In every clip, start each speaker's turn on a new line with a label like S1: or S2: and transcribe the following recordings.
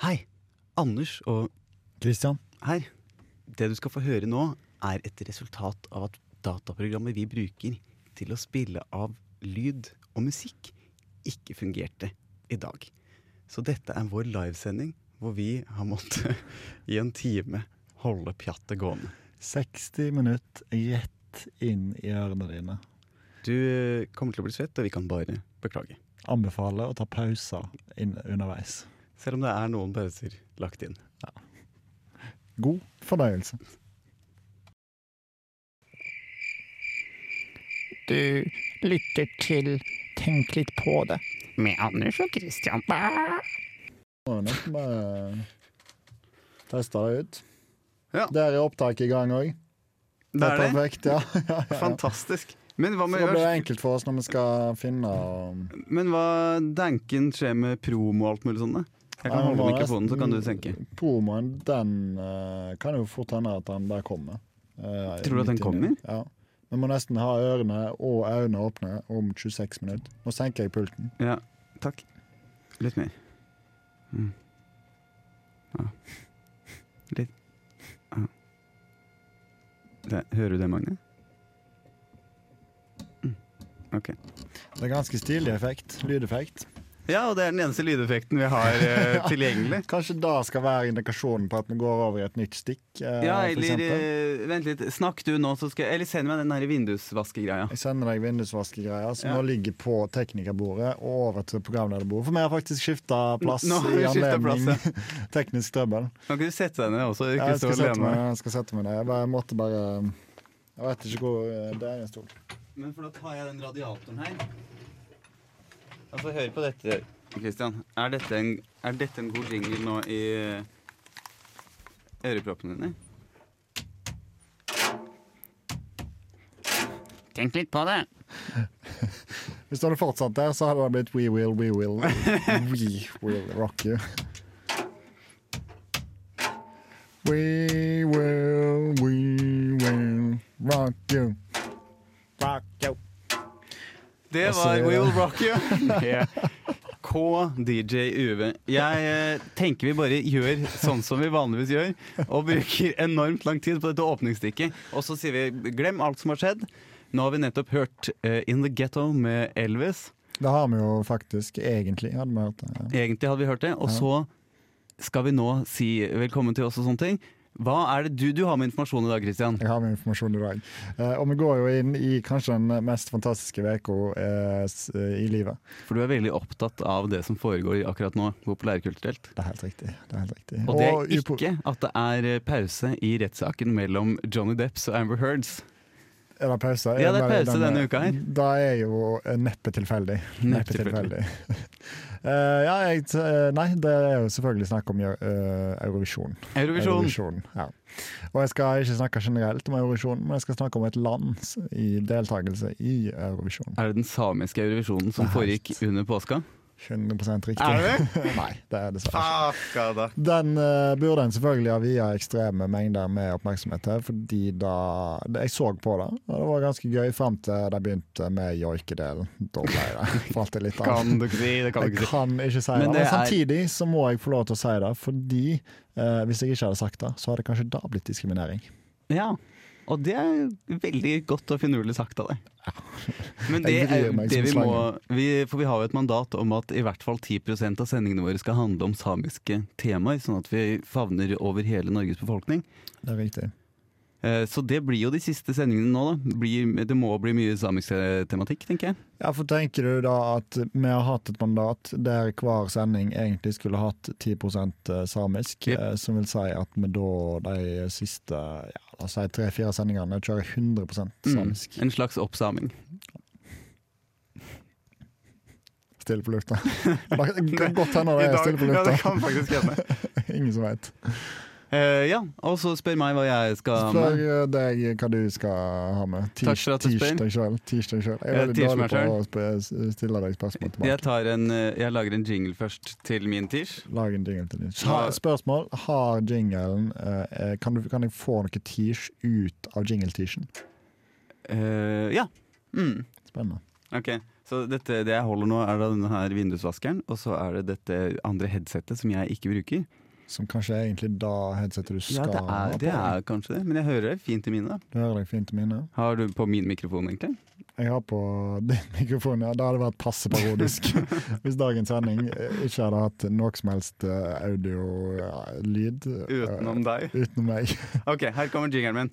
S1: Hei, Anders og
S2: Kristian,
S1: her. Det du skal få høre nå, er et resultat av at dataprogrammet vi bruker til å spille av lyd og musikk, ikke fungerte i dag. Så dette er vår livesending hvor vi har måttet i en time holde pjattet gående.
S2: 60 minutter rett inn i ørene dine.
S1: Du eh, kommer til å bli svett, og vi kan bare beklage.
S2: Anbefaler å ta pauser inn underveis.
S1: Selv om det er noen pauser lagt inn.
S2: God fornøyelse.
S3: Du lytter til Tenk litt på det.
S4: med Anders og Christian.
S2: Må jo nesten bare teste det ut.
S1: Ja.
S2: Der er opptaket i gang òg.
S1: Det er det.
S2: Perfekt, ja. ja, ja.
S1: Fantastisk. Men hva
S2: Så
S1: med
S2: da blir det enkelt for oss når vi skal finne og
S1: Men hva danken skjer med promo og alt mulig sånt? da? Jeg kan
S2: Ja, men
S1: holde
S2: hva er
S1: mikrofonen, så kan du
S2: nesten-
S1: senke.
S2: Promoen, den eh, kan jo fort hende at den bare kommer. Eh,
S1: Tror du at den
S2: midt inni. Ja. Vi må nesten ha ørene og øynene åpne om 26 minutter. Nå senker jeg pulten.
S1: Ja, takk. Litt mer. Mm. Ja. Litt ja. Det, Hører du det, Magne? Mm. Ok.
S2: Det er ganske stilig effekt. Lydeffekt.
S1: Ja, og det er den eneste lydeffekten vi har eh, tilgjengelig.
S2: Kanskje det skal være indikasjonen på at vi går over i et nytt stikk? eh,
S1: Ja,
S2: for
S1: eller
S2: eksempel.
S1: eh, Vent litt. Snakk du nå, så skal jeg Eller send meg den her vindusvaskegreia.
S2: Jeg sender deg vindusvaskegreier som
S1: Ja.
S2: nå ligger på teknikerbordet og over til programlederbordet. For vi har faktisk skifta plass
S1: Nå har vi
S2: i
S1: skiftet
S2: anledning teknisk trøbbel.
S1: Kan ikke du sette deg ned også? Ikke
S2: Jeg
S1: stå
S2: skal sette
S1: alene.
S2: meg, jeg skal sette meg ned. Jeg bare, måtte bare Jeg vet ikke hvor eh, Det er en stol.
S1: Men for da tar jeg den radiatoren her. Altså, hør på dette, Christian. Er dette en, er dette en god jingle nå i eh, øreproppene dine?
S4: Tenk litt på det.
S2: Hvis du hadde fortsatt der, så hadde det blitt We will, we will, we will rock you. We will, we will rock you. Rock you.
S1: Det
S2: Altså,
S1: var
S2: det-
S1: We Will Rock You. Med K, DJ, UV. Jeg eh, tenker vi bare gjør sånn som vi vanligvis gjør, og bruker enormt lang tid på dette åpningsstikket. Og så sier vi glem alt som har skjedd. Nå har vi nettopp hørt eh, In The Ghetto med Elvis.
S2: Det har vi jo faktisk egentlig, hadde vi hørt det.
S1: Egentlig hadde vi hørt det, og
S2: Ja.
S1: så skal vi nå si velkommen til oss og sånne ting. Hva er det du, du har med informasjon i dag, Christian?
S2: Jeg har med informasjon i dag. Eh, og vi går jo inn i kanskje den mest fantastiske uka eh, s- i livet.
S1: For du er veldig opptatt av det som foregår akkurat nå, populærkulturelt.
S2: Det er helt riktig. Det er helt riktig.
S1: Og det
S2: Og
S1: er
S2: upo-
S1: ikke at det er eh, pause i rettssaken mellom Johnny Depps og Amber Heards.
S2: Er det pause?
S1: Ja, det er
S2: bare
S1: pause denne uka her.
S2: Da er jo eh, neppe tilfeldig.
S1: Neppe
S2: Neppe tilfeldig. Eh, ja, jeg, t- eh, nei, det er jo selvfølgelig snakk om eh, Eurovisjon.
S1: Eurovisjon!
S2: Eurovisjon, ja. Og jeg skal ikke snakke generelt om Eurovisjon, men jeg skal snakke om et lands i deltakelse i Eurovisjon.
S1: Er det den samiske eurovisjonen som
S2: Det er helt-
S1: foregikk under påska?
S2: 100 riktig.
S1: det?
S2: nei, det er dessverre ikke.
S1: Fakada.
S2: Den eh, burde en selvfølgelig ha via ekstreme mengder med oppmerksomhet til, fordi da det- Jeg så på det, og det var ganske gøy fram til de begynte med joikedelen. Da ble det falt det litt av.
S1: Kan du ikke si, det kan du
S2: Jeg
S1: ikke si.
S2: kan ikke si det,
S1: Men
S2: men
S1: det er-
S2: samtidig så må jeg få lov til å si det, fordi eh, hvis jeg ikke hadde sagt det, så hadde kanskje da blitt diskriminering.
S1: Ja, og det er veldig godt og finurlig sagt av deg. Men det
S2: Jeg
S1: er
S2: vrir meg
S1: det vi
S2: som
S1: må vi, For vi har jo et mandat om at i hvert fall 10 av sendingene våre skal handle om samiske temaer, sånn at vi favner over hele Norges befolkning.
S2: Det er riktig.
S1: Eh, Så det blir jo de siste sendingene nå, da. Blir, det må bli mye samisk eh, tematikk, tenker jeg.
S2: Ja, for tenker du da at vi har hatt et mandat der hver sending egentlig skulle hatt 10 samisk,
S1: Jep.
S2: eh, som vil si at vi da de siste ja, la oss si tre-fire sendingene kjører 100 samisk.
S1: Mm. En slags oppsaming.
S2: Stille på lufta. Det kan godt hende det er stille på lufta.
S1: kan faktisk hende.
S2: Ingen som veit.
S1: Eh, ja, og så spør meg hva jeg skal ha
S2: Spør
S1: med.
S2: eh, deg hva du skal ha med.
S1: Takk for at du spør.
S2: Tirsdag sjøl. Tirsdag sjøl. Jeg
S1: Ja,
S2: er veldig
S1: tirsdag
S2: dårlig på
S1: selv.
S2: å sp- stille deg spørsmål tilbake.
S1: Jeg, tar en, eh, jeg lager en jingle først til min tirsj.
S2: Lag en jingle til din.
S1: Ha-
S2: Ha, spørsmål. Har jinglen eh, kan, du, kan jeg få noe tish ut av jingle-tishen?
S1: Eh, ja. Mm.
S2: Spennende.
S1: Ok, Så dette, det jeg holder nå, er da denne her vindusvaskeren, og så er det dette andre headsetet som jeg ikke bruker.
S2: Som kanskje er egentlig da headsetet du
S1: Ja,
S2: skal
S1: det er, det
S2: ha på.
S1: er kanskje det, men jeg hører det fint i mine. da.
S2: Du hører deg fint i mine.
S1: Har du på min mikrofon, egentlig?
S2: Jeg har på din mikrofon, ja. Det hadde vært passe parodisk hvis dagens sending eh, ikke hadde hatt noe som helst eh, audio-lyd.
S1: Utenom deg.
S2: eh, Utenom meg.
S1: Ok, her kommer jingeren min.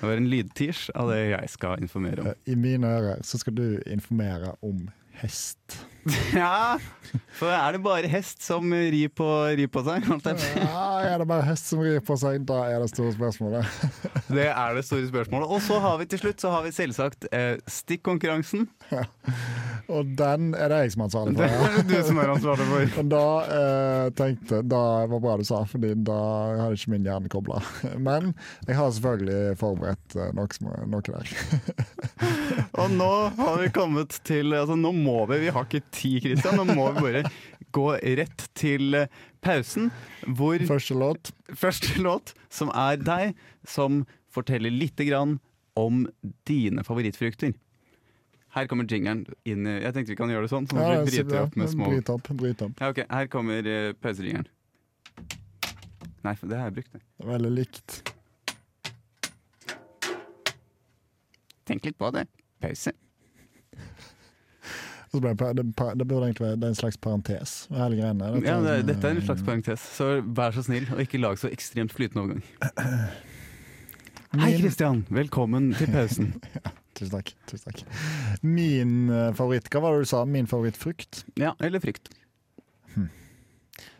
S1: Det var en lydtisj av det jeg skal informere om.
S2: I mine ører så skal du informere om hest.
S1: Ja, for er det bare hest som rir på, rir på seg? holdt jeg på å si?
S2: Ja, Ah, er det bare hest som rir på seg? Da er det store spørsmålet.
S1: Det er det store spørsmålet. Og så har vi til slutt så har vi selvsagt eh, stikkonkurransen.
S2: Og den er det jeg som har ansvaret
S1: Det
S2: for.
S1: er det du som er ansvarlig for.
S2: Og da eh, tenkte Da var bra du sa, Fordi da hadde ikke min hjerne kobla. Men jeg har selvfølgelig forberedt eh, noe, som, noe der.
S1: Mm. Og nå har vi kommet til altså Nå må vi, vi har ikke tid, Christian. Nå må vi bare gå rett til eh, pausen, hvor
S2: Første låt.
S1: første låt, som er deg, som forteller lite grann om dine favorittfrukter. Her kommer jingeren inn i Jeg tenkte vi kan gjøre det sånn, så
S2: Ja,
S1: vi
S2: det er
S1: bryter opp med
S2: superbra.
S1: små
S2: Bryt opp, bryt opp.
S1: Ja, ok, her kommer eh, pausejingeren. Nei, for det har jeg brukt, det.
S2: Det er Veldig likt.
S4: Tenk litt på det.
S1: Pause.
S2: Og så ble det, pa- det, pa- det burde egentlig være det er en slags parentes. Hele greiene. Dette
S1: Ja, det, dette er en
S2: eh,
S1: slags parentes, så vær så snill og ikke lag så ekstremt flytende overgang.
S2: Min-
S1: Hei, Kristian! Velkommen til pausen.
S2: Tusen takk. Tusen takk. Min eh, favoritt Hva var det du sa? Min favorittfrukt?
S1: Ja, eller frykt.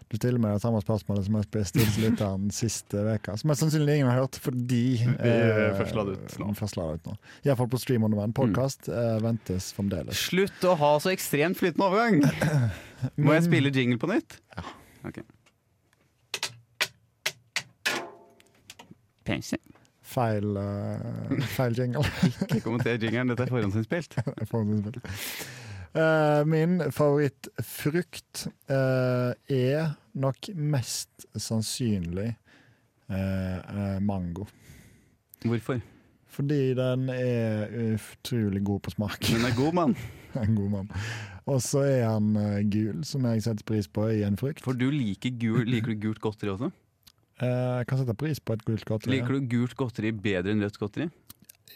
S2: Du stiller meg det samme spørsmålet som jeg stilte lytteren siste veka Som mest sannsynlig ingen har hørt, fordi
S1: eh, først la det ut nå. Mm.
S2: Først la det ut nå. Iallfall på Stream On Demand. Podkast eh, ventes fremdeles.
S1: Slutt å ha så ekstremt flytende overgang! Må jeg spille jingle på nytt?
S4: Pause.
S2: Feil, eh, feil jingle.
S1: Ikke kommenter jingeren, dette er forhåndsinnspilt.
S2: Forhåndsinnspill. Eh, min favorittfrukt eh, er nok mest sannsynlig eh, eh, mango.
S1: Hvorfor?
S2: Fordi den er utrolig god på smak.
S1: Den er god, mann.
S2: en god mann. Og så er han eh, gul, som jeg setter pris på i en frukt.
S1: For du liker, gul, liker du gult godteri også?
S2: Eh, jeg kan sette pris på et gult godteri.
S1: Liker du gult godteri bedre enn rødt godteri?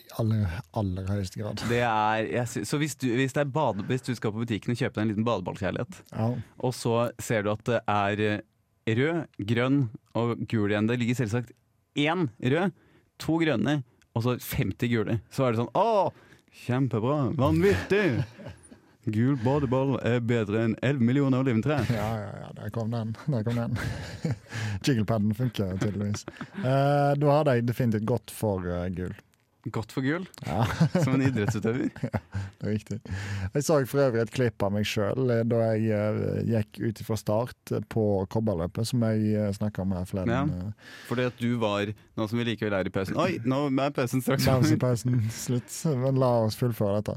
S2: I aller, aller høyeste grad.
S1: Det er, jeg, sy- så hvis du, hvis, det er bade, hvis du skal på butikken og kjøpe deg en liten badeballkjærlighet
S2: Ja.
S1: Og så ser du at det er eh, rød, grønn og gul igjen. Det ligger selvsagt én rød, to grønne og så 50 gule. Så er det sånn Å, kjempebra! Vanvittig! Gul badeball er bedre enn 11 millioner oliventrær.
S2: Ja, ja, ja, der kom den. Der kom den. Jigglepadden funker tydeligvis. Eh, da hadde jeg definitivt gått for eh, gul.
S1: Godt for gul,
S2: Ja,
S1: som en idrettsutøver.
S2: det er riktig. Jeg så for øvrig et klipp av meg sjøl da jeg eh, gikk ut fra start eh, på kobberløpet, som jeg snakka om her forleden. eh,
S1: Ja. Fordi at du var Nå som vi likevel er i pausen Oi, nå er pausen straks
S2: Pause,
S1: over.
S2: pausen, slutt. Men la oss fullføre dette.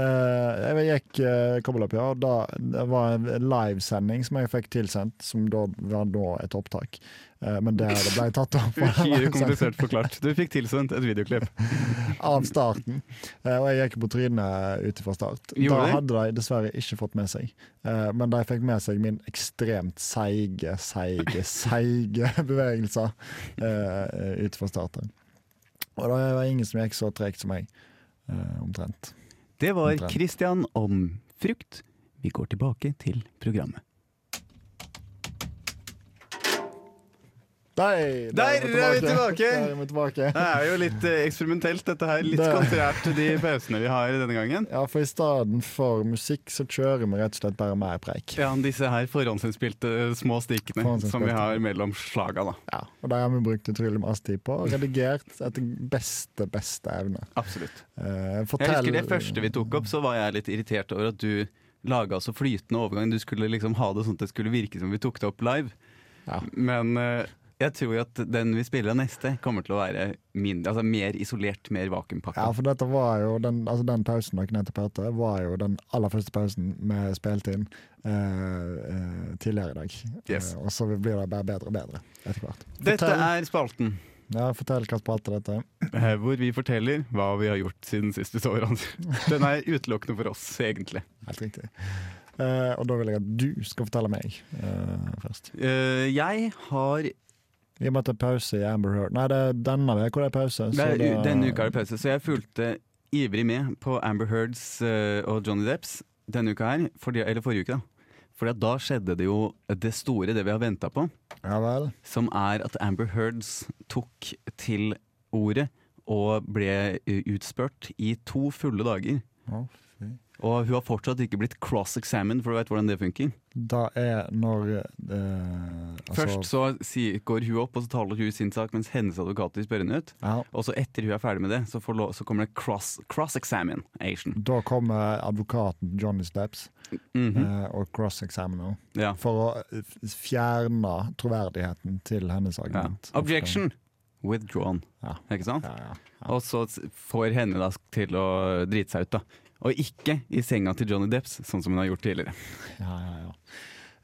S2: Eh, jeg gikk uh, kobberløpet, ja, og da, det var en livesending som jeg fikk tilsendt, som da var da et opptak. Eh, men det det ble tatt opp.
S1: Uhyre komplisert forklart. Du fikk tilsendt et videoklipp.
S2: av starten. Eh, og jeg gikk på trynet ute fra start.
S1: Gjorde
S2: da
S1: du?
S2: hadde de dessverre ikke fått med seg, eh, men de fikk med seg min ekstremt seige, seige, seige bevegelser eh, ute fra starten. Og det var ingen som gikk så tregt som meg, eh, omtrent.
S1: Det var
S2: Omtrent.
S1: Christian om frukt. Vi går tilbake til programmet.
S2: Der,
S1: Der er vi tilbake!
S2: Der er vi tilbake.
S1: Det er jo litt eh, eksperimentelt, dette her. Litt
S2: Det-
S1: kontrært til de pausene vi har denne gangen.
S2: Ja, for i stedet for musikk, så kjører vi rett og slett bare mer preik.
S1: Ja, disse her forhåndsinnspilte eh, små stikkene
S2: Forhåndsinnspilte.
S1: som vi har mellom slaga, da.
S2: Ja, og det har vi brukt utrolig masse tid på, og redigert etter beste, beste evne.
S1: Absolutt.
S2: Eh,
S1: Jeg
S2: fortell
S1: husker det første vi tok opp, så var jeg litt irritert over at du laga så flytende overgang. Du skulle liksom ha det sånn at det skulle virke som vi tok det opp live.
S2: Ja.
S1: Men eh, Jeg tror jo at den vi spiller neste, kommer til å være mindre, altså mer isolert, mer
S2: Ja,
S1: vakuumpakka.
S2: for dette var jo den, altså den pausen dere nettopp hørte, var jo den aller første pausen med spilletid eh, eh, tidligere i dag.
S1: Yes.
S2: Eh, og så blir det bare bedre og bedre etter hvert.
S1: Dette
S2: Fortell,
S1: er spalten
S2: ja, fortell hva spalte dette er.
S1: eh, hvor vi forteller hva vi har gjort siden sist vi så hverandre. Den er utelukkende for oss, egentlig.
S2: Helt riktig. Eh, og da vil jeg at du skal fortelle meg eh, først.
S1: Eh, jeg har
S2: I og med at det er pause i Amber Heard Nei, det er denne uka det er pause. så
S1: det er,
S2: det-
S1: u- Denne uka er det pause, så jeg fulgte ivrig med på Amber Heards eh, og Johnny Depps denne uka her, fordi, eller forrige uke, da. Fordi at da skjedde det jo det store, det vi har venta på.
S2: Ja vel.
S1: som er at Amber Heards tok til ordet og ble eh, utspurt i to fulle dager.
S2: Å, fy.
S1: Og hun har fortsatt ikke blitt cross-examined, for du veit hvordan det funker.
S2: Da er når eh, altså,
S1: Først så sier, går hun opp og så taler hun sin sak, mens hennes advokat er spørrende ut.
S2: ja,
S1: Og så etter hun er ferdig med det, så, får lov, så kommer det cross- cross-examination.
S2: Da kommer advokaten Johnny Steps
S1: Mhm,
S2: eh, og cross-examiner
S1: ja.
S2: for å f- fjerne troverdigheten til hennes
S1: ja.
S2: argument.
S1: Objection! Withdrawn.
S2: Ja.
S1: Ikke sant?
S2: Ja, ja.
S1: Og så s- får henne da til å drite seg ut, da. Og ikke i senga til Johnny Depps, sånn som hun har gjort tidligere.
S2: Ja, ja, ja.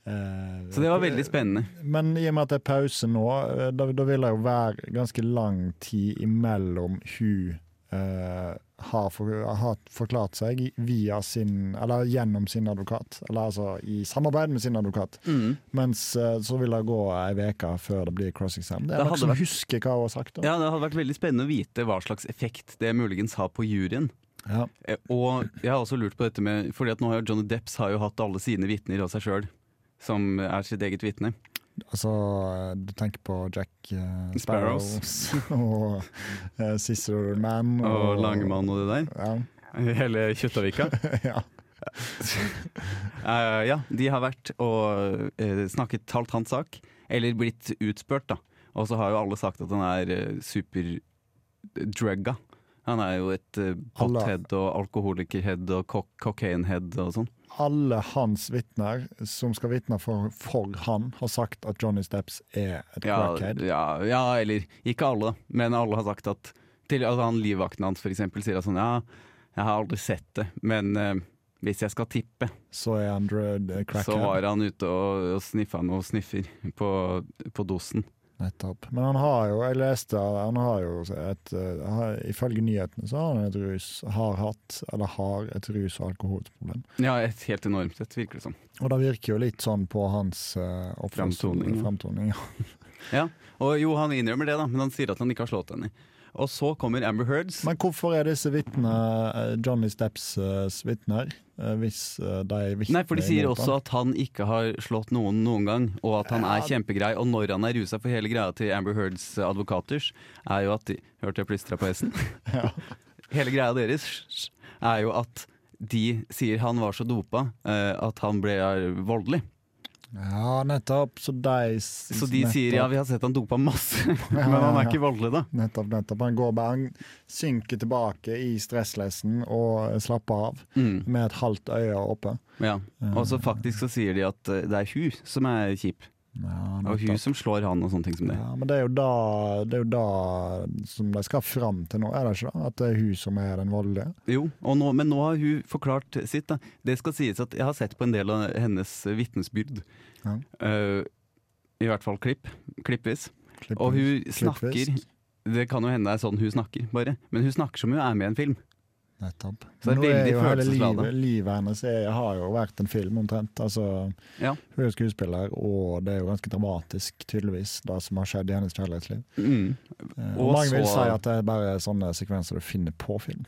S2: Eh,
S1: Så det var veldig spennende.
S2: Men i og med at det er pause nå, eh, da, da vil det jo være ganske lang tid imellom hun eh, har, for, har forklart seg via sin, eller gjennom sin advokat. Eller altså i samarbeid med sin advokat.
S1: Mhm.
S2: Mens eh, så vil det gå ei uke før det blir cross-exam.
S1: Det
S2: Det er
S1: hadde
S2: noen som
S1: vært-
S2: husker hva hun har sagt. Da.
S1: Ja, Det hadde vært veldig spennende å vite hva slags effekt det muligens har på juryen.
S2: Ja.
S1: Eh, Og jeg har også lurt på dette med Fordi at nå har jo Johnny Depps har jo hatt alle sine vitner og seg sjøl, som er sitt eget vitne.
S2: Altså, du tenker på Jack eh,
S1: Sparrows.
S2: Sparrows og uh, Cicero Man.
S1: Og Langemann og det der.
S2: Ja.
S1: Hele Kjøttaviga.
S2: ja.
S1: Eh, ja, de har vært og eh, snakket talt hans sak, eller blitt utspurt, da. Og så har jo alle sagt at han er eh, superdrugga. Han er jo et uh,
S2: Alle-
S1: pothead og alkoholikerhead og cock cocainehead og sånn.
S2: Alle hans vitner som skal vitne for, for han, har sagt at Johnny Steps er et
S1: Ja,
S2: crackhead.
S1: ja, ja, eller ikke alle, da. Men alle har sagt at til, altså han Livvakten hans for eksempel sier at sånn Ja, jeg har aldri sett det, men eh, hvis jeg skal tippe,
S2: Så er han drød eh,
S1: så
S2: crackhead.
S1: var han ute og, og sniffa noe sniffer på, på dosen.
S2: Nettopp. Men han har jo, jeg leste, han har jo et eh, har, Ifølge nyhetene så har han et rus, har hatt, eller har et rus- og alkoholproblem.
S1: Ja, et helt enormt et, virker det som.
S2: Og det virker jo litt sånn på hans uh,
S1: Fremtoning, ja.
S2: Fremtoning, ja.
S1: Ja, og jo, han innrømmer det, da, men han sier at han ikke har slått henne. Og så kommer Amber Heards.
S2: Men hvorfor er disse vitnene eh, Johnny Stepps eh, vitner, eh, hvis eh, de vitner
S1: Nei, for de sier
S2: imot
S1: også
S2: han?
S1: at han ikke har slått noen noen gang, og at han er
S2: Ja.
S1: kjempegrei. Og når han er rusa, for hele greia til Amber Heards eh, advokaters er jo at de Hørte jeg plystra på hesten?
S2: Ja.
S1: Hele greia deres er jo at de sier han var så dopa eh, at han ble eh, voldelig.
S2: Ja, nettopp. Så de s-
S1: Så de sier ja, vi har sett han dopa masse,
S2: Ja,
S1: men han
S2: ja,
S1: er
S2: ja.
S1: ikke voldelig, da.
S2: Nettopp, nettopp. Han går bare, han synker tilbake i stresslessen og eh, slapper av
S1: Mm,
S2: med et halvt øye oppe. Eh,
S1: ja. Og så faktisk så sier de at eh, det er hun som er kjip,
S2: Ja,
S1: og hun
S2: nettopp.
S1: som slår han og sånne ting som det.
S2: Ja, men det er, jo da, det er jo da som de skal fram til nå, er det ikke da? At det er hun som er den voldelige?
S1: Jo, og nå, men nå har hun forklart sitt. Da. Det skal sies at jeg har sett på en del av hennes vitnesbyrd.
S2: Ja.
S1: Eh, I hvert fall klipp. Klippvis.
S2: Klipp-
S1: Og hun snakker
S2: klippfisk.
S1: Det kan jo hende det er sånn hun snakker, bare. Men hun snakker som hun er med i en film.
S2: Nettopp.
S1: Så det er
S2: Nå
S1: veldig
S2: jo hele
S1: følelsesladet.
S2: Livet, livet hennes er, har jo vært en film, omtrent. Altså,
S1: Ja.
S2: Hun er skuespiller, og det er jo ganske dramatisk, tydeligvis, det som har skjedd i hennes kjærlighetsliv.
S1: Mm.
S2: Eh,
S1: Og
S2: og mange vil
S1: så-
S2: si at det er bare sånne sekvenser du finner på film.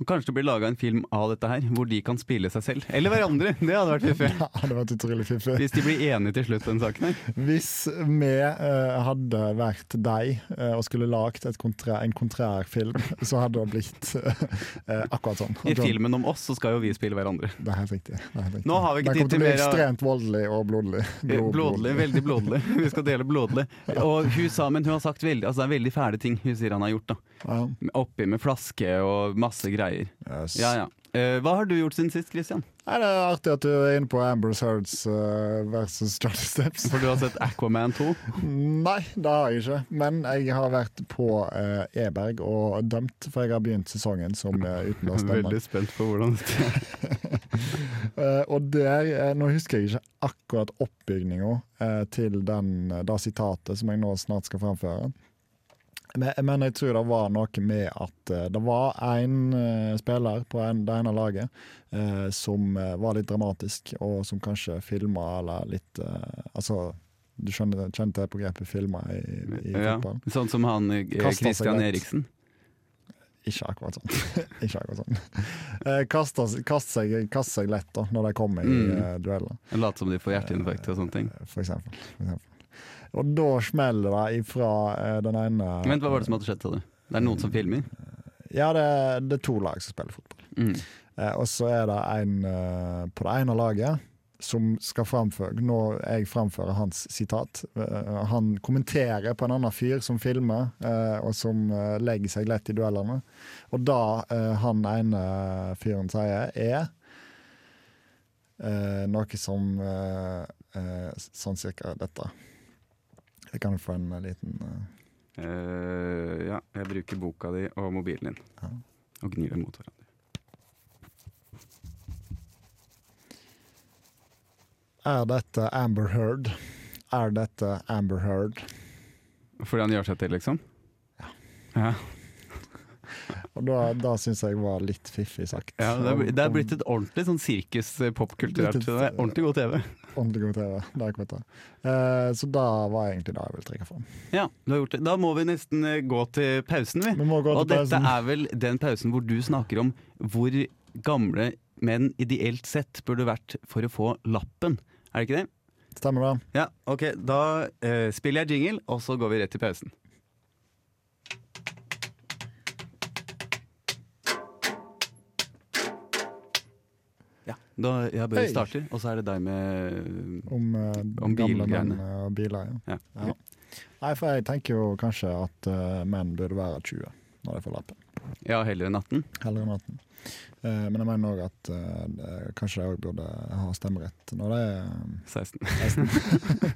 S1: Og Kanskje det blir laga en film av dette her, hvor de kan spille seg selv. Eller hverandre! Det hadde vært fiffig.
S2: Ja, det var utrolig fiffig.
S1: Hvis de blir enige til slutt på den saken her.
S2: Hvis vi eh, hadde vært deg eh, og skulle lagd et kontra- en kontrær film, så hadde det blitt eh, akkurat sånn.
S1: I filmen om oss så skal jo vi spille hverandre.
S2: Det er helt riktig. Det er helt riktig.
S1: Nå har vi ikke
S2: Den
S1: tid til
S2: kommer til å bli
S1: mer av-
S2: ekstremt voldelig og blodlig. Blod-
S1: Blodlig, veldig blodlig. Vi skal dele blodlig. Og hun sa, men hun har sagt veldig, altså det er veldig fæle ting hun sier han har gjort. da
S2: Ja.
S1: Oppi med flaske og masse greier.
S2: Yes.
S1: Ja, ja. Eh, hva har du gjort siden sist, Christian?
S2: Nei, det er artig at du er inne på Amber Heards eh, versus Johnny Steps.
S1: For du har sett Aquaman 2.
S2: Nei, det har jeg ikke. Men jeg har vært på eh, Eberg og dømt, for jeg har begynt sesongen som uh, utendørsdømmer.
S1: Veldig spent på hvordan det
S2: Eh, og der, eh, Nå husker jeg ikke akkurat oppbygninga eh, til den, det sitatet som jeg nå snart skal framføre. Men, eh, men jeg tror det var noe med at eh, det var en eh, spiller på en, det ene laget eh, som eh, var litt dramatisk, og som kanskje filma eller litt eh, Altså, du skjønner, kjenner til begrepet 'filma' i, i
S1: ja,
S2: fotball?
S1: Sånn som han eh,
S2: Kastet seg
S1: Christian
S2: lett.
S1: Eriksen.
S2: Ikke akkurat sånn. ikke akkurat sånn. Eh, kaster, kaster, seg, kaster seg lett da, når de kommer i
S1: Mm.
S2: eh, dueller.
S1: Late som de får hjerteinfarkt og sånne ting.
S2: for eksempel. For eksempel. Og da smeller det ifra eh, den ene
S1: Vent, hva var det som hadde skjedd, sa du? Det er noen som filmer?
S2: Ja, det, det er to lag som spiller fotball.
S1: Mm.
S2: Eh, og så er det en eh, på det ene laget som skal framføre Når jeg framfører hans sitat eh, Han kommenterer på en annen fyr som filmer, eh, og som eh, legger seg lett i duellene. Og da eh, han ene fyren sier, er eh, noe som eh, eh, Sånn cirka dette. Jeg kan få en liten eh,
S1: Eh, ja, jeg bruker boka di og mobilen din.
S2: Ja.
S1: Og gnir dem mot hverandre.
S2: Er dette Amber Heard? Er dette Amber Heard?
S1: Fordi han gjør seg til, liksom? Ja.
S2: Og da, da syns jeg var litt fiffig sagt.
S1: ja det, er, bli- det er blitt et ordentlig sånn sirkus-popkulturelt.
S2: Blitt et-
S1: Det er Ordentlig god TV.
S2: Ordentlig god TV. Det er akkurat det. Eh, så da var egentlig det jeg ville trekke fram.
S1: Ja, du har gjort det. Da må vi nesten eh, gå til pausen, vi.
S2: Vi må gå
S1: Og
S2: til
S1: dette
S2: pausen.
S1: er vel den pausen hvor du snakker om hvor gamle menn ideelt sett burde vært for å få lappen. Er det ikke det?
S2: Stemmer det?
S1: Ja, ok. Da eh, spiller jeg jingle, og så går vi rett til pausen. Ja, da jeg bare
S2: Hei.
S1: starter, og så er det deg med
S2: Om, eh,
S1: Om
S2: gamle
S1: bilgreiene.
S2: menn eh, og biler. Ja.
S1: Ja.
S2: Ja. Nei, for jeg tenker jo kanskje at eh, menn burde være 20 når de får lappen.
S1: ja, heller enn 18.
S2: Heller enn 18. Eh, men jeg mener òg at eh, det- kanskje de òg burde ha stemmerett når det er eh,
S1: 16.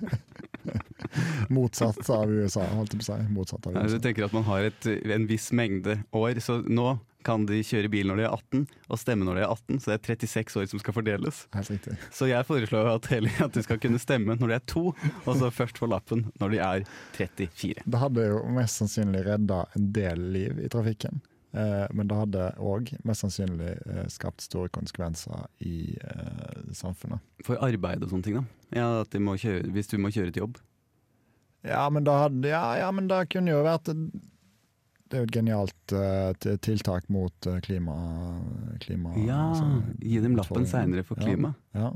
S2: motsatt av USA, holdt jeg på å si. Motsatt av
S1: Nei, du
S2: USA.
S1: tenker at man har et, en viss mengde år, så nå kan de kjøre bil når de er 18, og stemme når de er 18, så det er 36 år som skal fordeles.
S2: Helt riktig.
S1: Så jeg foreslår at, heller at de skal kunne stemme når de er to, og så først få lappen når de er 34.
S2: Det hadde jo mest sannsynlig redda en del liv i trafikken. Eh, men det hadde òg mest sannsynlig eh, skapt store konsekvenser i eh, samfunnet.
S1: For arbeid og sånne ting, da. Ja, at de må kjøre, hvis du må kjøre til jobb.
S2: Ja, men det, hadde, ja, ja, men det kunne jo vært Det er jo et genialt eh, t- tiltak mot eh, klima... klima
S1: Ja,
S2: sånn,
S1: gi dem lappen
S2: utfordringer.
S1: seinere for klima.
S2: Ja.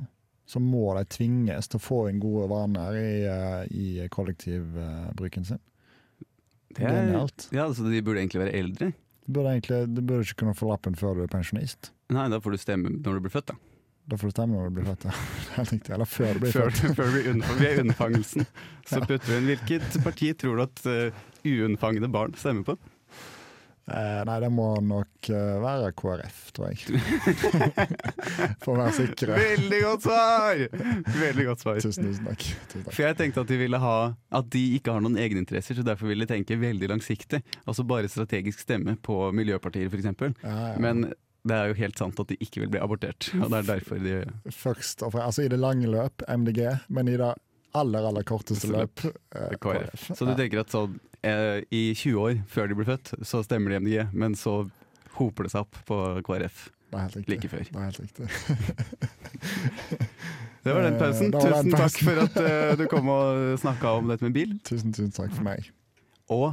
S2: Så må de tvinges til å få inn gode vaner i, eh, i kollektivbruken sin.
S1: Det er-
S2: Genialt.
S1: Ja, altså De burde egentlig være eldre.
S2: Du burde, egentlig, du burde ikke kunne få lappen før du er pensjonist.
S1: Nei, da får du stemme når du blir født, da.
S2: Da får du stemme når du blir født, ja. Helt riktig. Eller før du blir
S1: Før,
S2: født.
S1: før vi, unnfang, vi er unnfangelsen. Så putter vi inn hvilket parti tror du at eh, uunnfangede barn stemmer på?
S2: Eh, nei, det må nok eh, være KrF, tror jeg. For å være sikre.
S1: Veldig godt svar! Veldig godt svar.
S2: Tusen, tusen takk. Tusen takk.
S1: For jeg tenkte at de ville ha At de ikke har noen egeninteresser, så derfor ville de tenke veldig langsiktig. Altså bare strategisk stemme på miljøpartier, f.eks.
S2: Ja, ja.
S1: Men det er jo helt sant at de ikke vil bli abortert. Og det er derfor de
S2: Først og fremst, altså i det lange løp MDG, men i det aller, aller korteste løp eh,
S1: KrF. Så du
S2: Ja.
S1: tenker at sånn eh, i 20 år før de blir født, så stemmer de MDG, men så hoper det seg opp på KrF
S2: Det er helt riktig.
S1: like før.
S2: Det er helt riktig.
S1: Det var den pausen.
S2: Eh, det var den
S1: Tusen takk
S2: pausen.
S1: for at eh, du kom og snakka om dette med bil.
S2: Tusen, tusen takk for meg.
S1: Og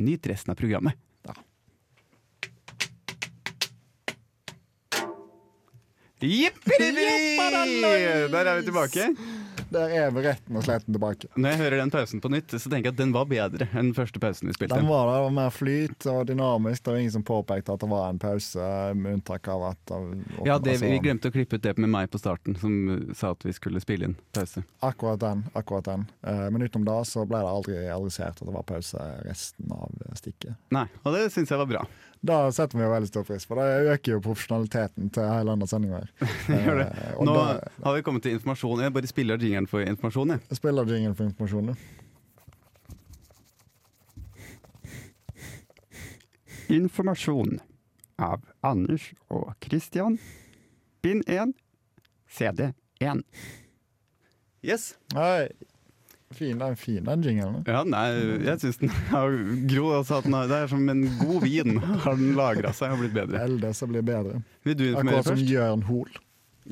S1: nyt resten av programmet.
S2: Ja.
S1: Jippidippi! Der er vi tilbake.
S2: Der er vi retten og sletten tilbake.
S1: Når jeg hører den pausen på nytt, så tenker jeg at den var bedre enn den første pausen vi spilte.
S2: Den var der, det var mer flyt og dynamisk. Det var ingen som påpekte at det var en pause, med unntak av at det-
S1: Ja, det, Vi
S2: altså-
S1: glemte å klippe ut det med meg på starten, som uh, sa at vi skulle spille inn pause.
S2: Akkurat den. akkurat den. Eh, Men utenom det så ble det aldri adressert at det var pause resten av stikket.
S1: Nei, Og det syns jeg var bra.
S2: Det setter vi jo veldig stor pris på. Det øker jo profesjonaliteten til hele andre sendinger.
S1: Gjør det.
S2: Eh, og
S1: Nå
S2: da-
S1: har vi kommet til informasjon. Jeg bare spiller jingeren for informasjon. Jeg.
S2: Jeg spiller jingle for informasjon, du.
S4: Informasjon av Anders og Christian. Bind 1, CD 1.
S1: Yes.
S2: Nei. Fin, den, fin, den jinglen.
S1: Ja, nei, jeg syns den har Gro altså at den har, Det er som en god vin. Har den lagra seg og blitt bedre.
S2: Eldre som blir bedre.
S1: Vil du informere
S2: Akkurat som
S1: først?
S2: Jørn Hoel.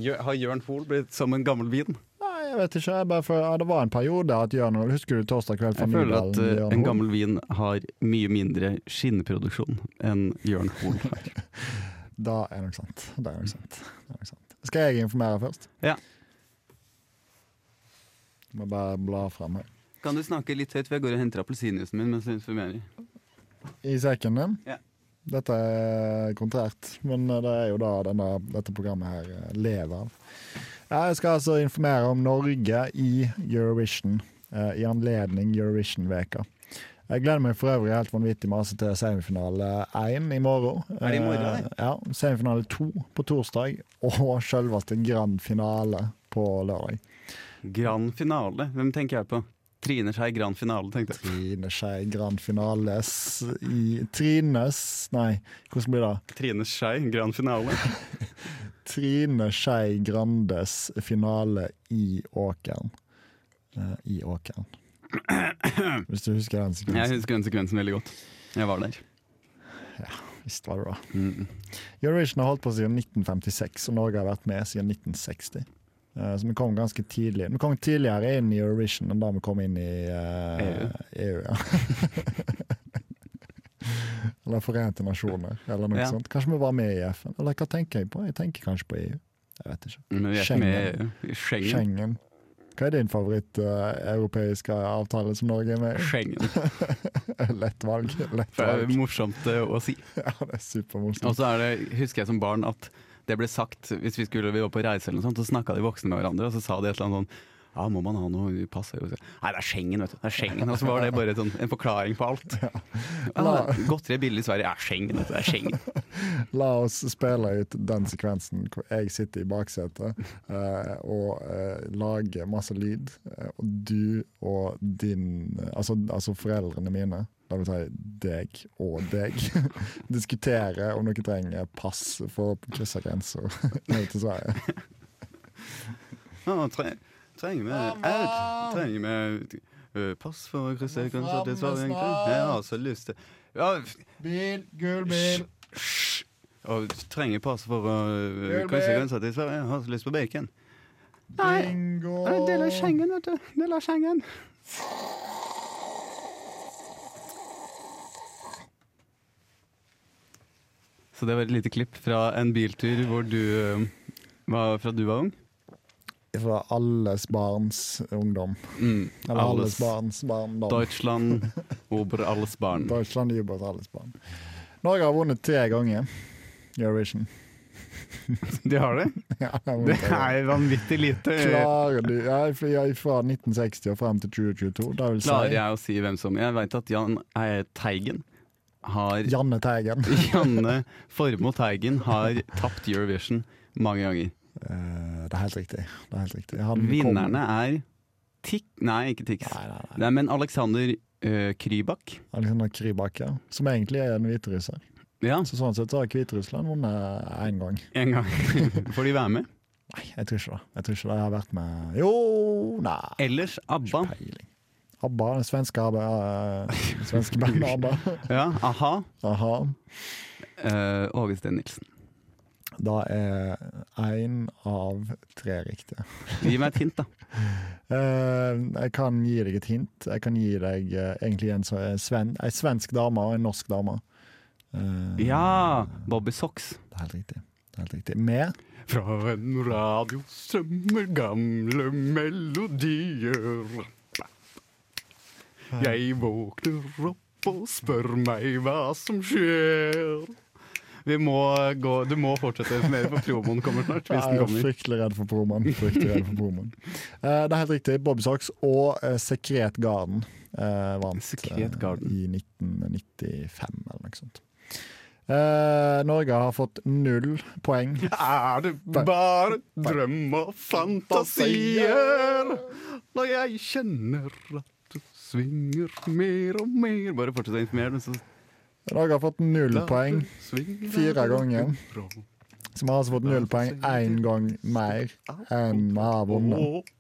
S1: Gjør- Har Jørn Hoel blitt som en gammel vin?
S2: Nei, jeg vet ikke. Jeg bare for, ja, det var en periode at Jørn Hoel Husker du torsdag kveld fra
S1: Jeg føler
S2: Nydalen?
S1: at eh,
S2: Jørn
S1: en
S2: Hoel?
S1: gammel vin har mye mindre skinnproduksjon enn Jørn Hoel har.
S2: Da er nok sant. Det er nok sant. Det er nok sant. Skal jeg informere først?
S1: Ja.
S2: Må bare bla fram her.
S1: Kan du snakke litt høyt, for jeg går og henter appelsinjuicen min mens du informerer.
S2: I sekken din?
S1: Ja.
S2: Dette er kontrært, men eh, det er jo da denne, dette programmet her eh, lever av. Jeg skal altså informere om Norge i Eurovision, eh, i anledning Eurovision-veka. Jeg gleder meg for øvrig helt vanvittig masse til semifinale én i morgen.
S1: Er det i morgen,
S2: Eh,
S1: det?
S2: Ja, Semifinale to på torsdag, og selveste grand finale på lørdag.
S1: Grand finale. Hvem tenker jeg på? Trine Skei Grand finale, tenkte jeg.
S2: Trine Skei grand finales i Trines Nei, hvordan blir det?
S1: Trine Skei Grand finale.
S2: Trine Skei Grandes finale i Åkeren. Eh, I Åkeren. Hvis du husker den
S1: Jeg
S2: sekvensen.
S1: husker den sekvensen veldig godt. Jeg var der.
S2: Visst var det bra.
S1: Mm.
S2: Eurovision har holdt på siden 1956, og Norge har vært med siden 1960. Eh, Så vi kom ganske tidlig Vi kom tidligere inn i Eurovision enn da vi kom inn i eh, EU. ja. eller Forente nasjoner, eller noe
S1: Ja.
S2: sånt. Kanskje vi var med i FN? Eller hva tenker jeg på? Jeg tenker kanskje på EU. Jeg vet ikke.
S1: Men vi er ikke med i EU. Schengen.
S2: Schengen. Hva er din favoritt-europeiske avtale som Norge er med i?
S1: Schengen.
S2: Lett valg. Lett
S1: Det er
S2: valg.
S1: morsomt eh, å si.
S2: Ja, det er
S1: Og
S2: supermorsomt.
S1: så er det, husker jeg som barn at det ble sagt hvis vi skulle vi var på reise eller noe sånt, så snakka de voksne med hverandre, og så sa de et eller annet sånn ja, må man ha noe pass? Og så, Nei, det er Schengen, vet du. Det er Schengen. Og så var det bare sånn, en forklaring på alt. Ja, Godteri er billig i Sverige. Ja, Schengen, vet du. Det er Schengen.
S2: La oss spille ut den sekvensen hvor jeg sitter i baksetet eh, og eh, lager masse lyd, eh, og du og din Altså, altså foreldrene mine, det vil si deg og deg, diskuterer om dere trenger pass for å krysse grenser ned til Sverige.
S1: Ja, tre, trenger vi jeg, Trenger vi ø, pass for å krysse grensa til Sverige, egentlig? Jeg har så lyst til ja,
S2: Bil, gul
S1: bil. Hysj! Og trenger pass for å ø, krysse grensa til Sverige. Jeg har så lyst på bacon.
S2: Bingo!
S4: Det er en del av Schengen, vet du. Del av Schengen.
S1: Så det var et lite klipp fra en biltur hvor du eh, var fra du var ung.
S2: fra alles barns ungdom.
S1: Mm.
S2: Eller alles, barns barndom.
S1: Deutschland ober alles barn.
S2: Deutschland jubler alles barn. Norge har vunnet tre ganger Eurovision.
S1: De har det?
S2: Ja, de har
S1: Det
S2: vunnet tre ganger.
S1: er vanvittig lite. eh,
S2: Klarer du ja, for- ja, Fra 1960 og frem til 2022. Det vil si
S1: Klarer jeg å si hvem som Jeg veit at Jan eh, Teigen har
S2: Janne Teigen.
S1: Janne Formoe Teigen har tapt Eurovision mange ganger.
S2: Eh, det er helt riktig. Det er helt riktig. Han kom-
S1: Vinnerne er Tik... Nei, ikke Tix.
S2: Mm, Nei, nei, nei.
S1: Nei, men Alexander eh, Krybak.
S2: Alexander Krybak, ja. Som egentlig er en hviterusser.
S1: Ja,
S2: Så sånn sett så har Hviterussland vunnet én gang.
S1: en gang. Får de være med?
S2: Nei, jeg tror ikke det. Jeg tror ikke det. Jeg har vært med Jo, nei.
S1: Ellers ABBA.
S2: Peiling. ABBA, det svenske ABBA eh, det Svenske bandet ABBA.
S1: Ja, a-ha.
S2: Aha.
S1: Eh, Åge Steen Nilsen.
S2: Da er én av tre riktige.
S1: Gi meg et hint, da.
S2: Eh, jeg kan gi deg et hint. Jeg kan gi deg eh, egentlig en, så- en, sven, ei svensk dame og en norsk dame. Eh,
S1: Ja! Bobby Socks.
S2: Det er helt riktig. Det er helt riktig. Med
S1: Fra en radio strømmer gamle melodier. Jeg våkner opp og spør meg hva som skjer. Vi må gå Du må fortsette å informere, for promoen kommer snart. Hvis
S2: Jeg
S1: den
S2: er
S1: kommer.
S2: fryktelig redd for promoen. Fryktelig redd for promoen. Eh, det er helt riktig. Bobby Socks og eh, Secret Garden eh, vant
S1: Secret
S2: eh,
S1: Garden.
S2: i 1995 eller noe sånt. Eh, Norge har fått null poeng.
S1: Er det bare drøm og fantasier når jeg kjenner at du svinger mer og mer Bare fortsett å informere, men så
S2: Norge har fått null poeng.
S1: Svinger
S2: Fire ganger.
S1: bra.
S2: Så vi har altså fått null poeng én gang mer enn vi har vunnet.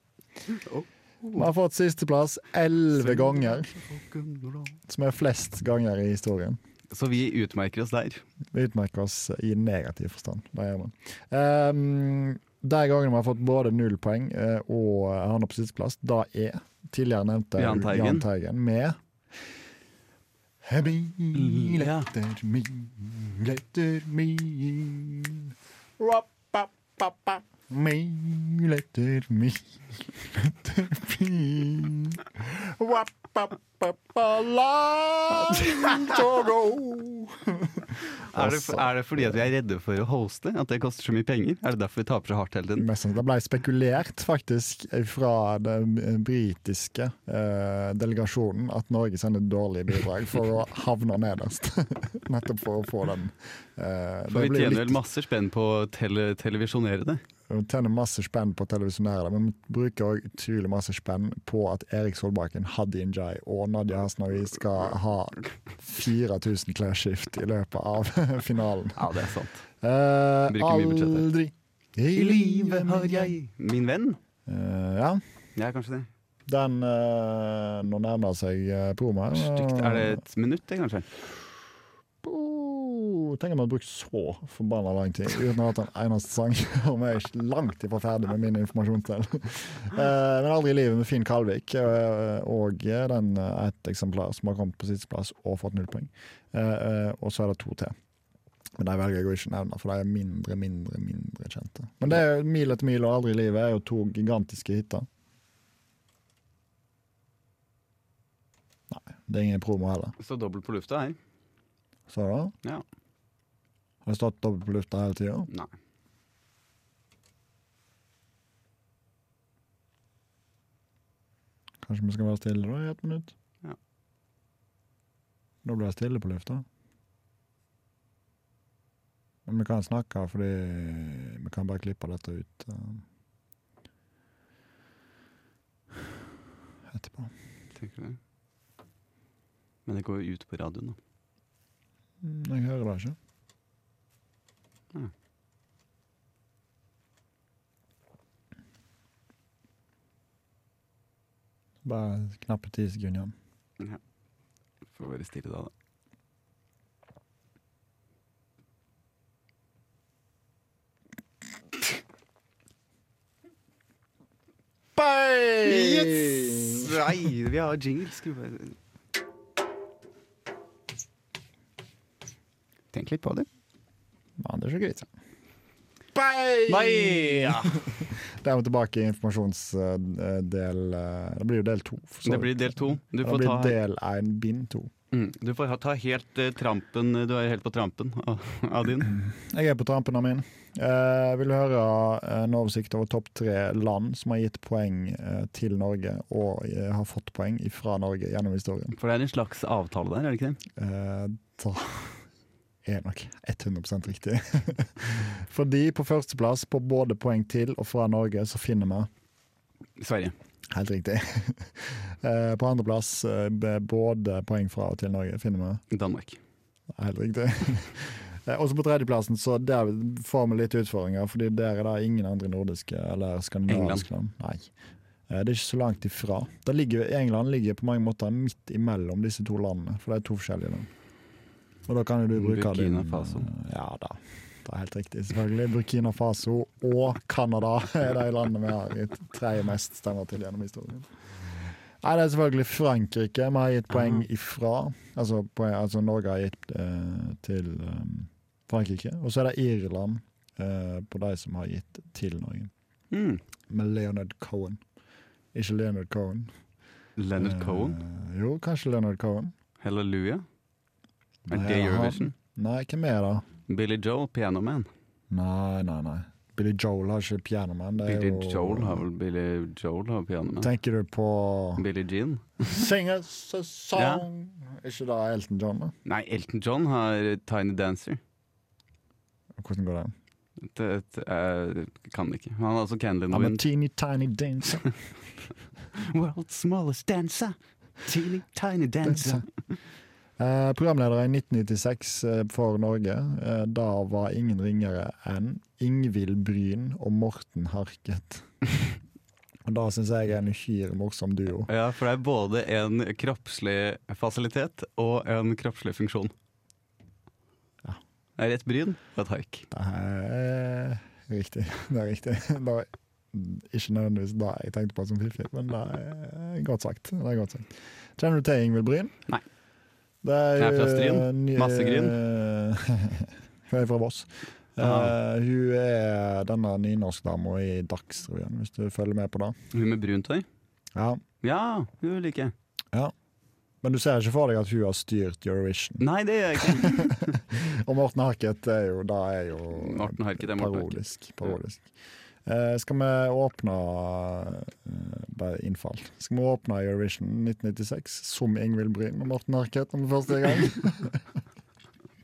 S1: Å,
S2: Vi har fått sisteplass elleve ganger,
S1: rock'n'roll.
S2: som er flest ganger i historien.
S1: Så vi utmerker oss der.
S2: Vi utmerker oss i negativ forstand. Det gjør vi. Ehm, de gangene vi har fått både null poeng eh, og havna på sisteplass, da er tidligere nevnte
S1: Jahn Teigen.
S2: Jahn Teigen med Bil
S1: Ja.
S2: etter mil etter mil Ra-pa-pa-pa. Mil etter mil etter mil Ra-pa-pa-pa-la to go
S1: Er det, er det fordi at vi er redde for å hoste? At det koster så mye penger? Er det derfor vi taper så hardt hele tiden?
S2: Mest sannsynlig. Det ble spekulert faktisk fra den britiske eh, delegasjonen at Norge sender dårlige bidrag for å havne nederst. Nettopp for å få den. eh,
S1: For vi
S2: blir jo
S1: tjener
S2: litt-
S1: vel masse spenn på å tele televisjonere det.
S2: vi tjener masse spenn på å televisjonere det, men vi bruker også utrolig masse spenn på at Erik Solbakken, Hadi Njay og Nadia Hasnawi skal ha 4000 klesskift i løpet av finalen.
S1: Ja, det er sant.
S2: Eh,
S1: Bruker mye budsjett her.
S2: aldri i livet har jeg
S1: Min venn?
S2: Eh, Ja.
S1: Jeg er kanskje det.
S2: Den eh, Nå nærmer det seg eh, promo her.
S1: Stygt. Er det et minutt, det, kanskje?
S2: Oh, Tenk om jeg hadde brukt så forbanna lang tid uten å ha hatt en eneste sang. Og jeg er langt ifra ferdig med min informasjonsdel. Eh, men aldri i livet med Finn Kalvik. eh, og eh, den eh, et eksemplar som har kommet på sisteplass og fått null poeng. Eh, eh, og så er det to til. Men de velger jeg å ikke nevne, for de er mindre, mindre, mindre kjente. Men det er jo Mil etter mil og Aldri i livet er jo to gigantiske hiter. Nei, det er ingen promo heller.
S1: Så dobbelt på lufta her?
S2: Sa du det?
S1: Ja.
S2: Har det stått dobbelt på lufta hele tida?
S1: Nei.
S2: Kanskje vi skal være stille da i ett minutt?
S1: Ja.
S2: Da blir det stille på lufta. Men vi kan snakke, fordi vi kan bare klippe dette ut eh, etterpå.
S1: Tenker du det? Men det går jo ut på radioen, da.
S2: Mm, Jeg hører det ikke.
S1: Mm.
S2: Bare knappe ti sekunder igjen.
S1: Får være stille da, da. Nei, vi har jingle. Skal vi bare
S4: Tenk litt på det.
S2: Ja, det er så greit.
S1: Nei! Ja.
S2: Da er vi tilbake i informasjonsdel eh, Det blir jo del to. for så
S1: Det
S2: vidt.
S1: blir del to. Du
S2: Det
S1: får
S2: blir
S1: ta
S2: del én, bind to.
S1: Mm, Du får ha- ta helt eh, trampen eh, Du er helt på trampen av, av din.
S2: Jeg er på trampen av min. Eh, vil du høre eh, en oversikt over topp tre land som har gitt poeng eh, til Norge, og eh, har fått poeng fra Norge gjennom historien.
S1: For det er en slags avtale der, er det ikke det?
S2: Eh, da er nok 100 riktig. Fordi på førsteplass, på både poeng til og fra Norge, så finner vi
S1: Sverige.
S2: Helt riktig. Eh, på andreplass, eh, b- både poeng fra og til Norge, finner vi
S1: Danmark.
S2: Helt riktig. Eh, Også på tredjeplassen så der får vi litt utfordringer, fordi der er det ingen andre nordiske eller skandinaviske land. Nei. Eh, Det er ikke så langt ifra. Der ligger, England ligger på mange måter midt imellom disse to landene, for det er to forskjellige land. Og da kan jo du bruke
S1: Burkina
S2: din,
S1: Faso.
S2: eh, Ja da. Det er helt riktig, selvfølgelig. Burkina Faso og Canada er de landene vi har gitt tredje mest stemmer til gjennom historien. Nei, det er selvfølgelig Frankrike vi har gitt poeng ifra. Altså, poeng, altså Norge har gitt eh, til eh, Frankrike. Og så er det Irland eh, på de som har gitt til Norge.
S1: Mm.
S2: Med Leonard Cohen. Ikke Leonard Cohen.
S1: Leonard
S2: Eh,
S1: Cohen.
S2: jo, kanskje Leonard Cohen.
S1: Hallelujah. Er
S2: Nei,
S1: det
S2: han-
S1: Eurovision?
S2: Nei, hvem er det?
S1: Billy Joel, Pianoman.
S2: Nei, nei, nei. Billy Joel har ikke piano, men det er
S1: Billy
S2: jo
S1: Joel har vel Billy Joel har piano med.
S2: Tenker du på
S1: Billie Jean?
S2: Sing a s- song Er ikke det Elton John, da?
S1: Nei, Elton John har eh, Tiny Dancer.
S2: Hvordan går den?
S1: Det, det, jeg kan det ikke. Han har også Candle in the
S2: I'm a
S1: Wind.
S2: teeny tiny dancer.
S1: World's smallest dancer. Teeny tiny dancer.
S2: Eh, programleder i 1996 eh, for Norge. Eh, da var ingen ringere enn Ingvild Bryn og Morten Harket. Og Da syns jeg er en uhyre morsom duo.
S1: Ja, for det er både en kroppslig fasilitet og en kroppslig funksjon.
S2: Ja.
S1: Det er et bryn og et haik.
S2: Det er riktig. Det er riktig. Det var ikke nødvendigvis det jeg tenkte på som fiffig, men det er godt sagt. Det er godt sagt. Kjenner du til Ingvild Bryn?
S1: Nei.
S2: Det er,
S1: Jeg er fra Stryn.
S2: eh, ny-
S1: Masse gryn.
S2: Hun er fra Voss. Eh,
S1: Ah.
S2: hun er denne nynorskdama i Dagsrevyen, hvis du følger med på det.
S1: Hun med brunt hår?
S2: Ja.
S1: Ja, hun liker jeg.
S2: Men du ser ikke for deg at hun har styrt Eurovision.
S1: Nei, det gjør jeg ikke.
S2: Og Morten Harket er jo, da er jo
S1: Morten Harket er Morten Harket.
S2: Parodisk. parodisk. Eh, skal vi åpne eh, Bare innfall. Skal vi åpne Eurovision 1996 som Ingvild Bryn og Morten Harket om første gang?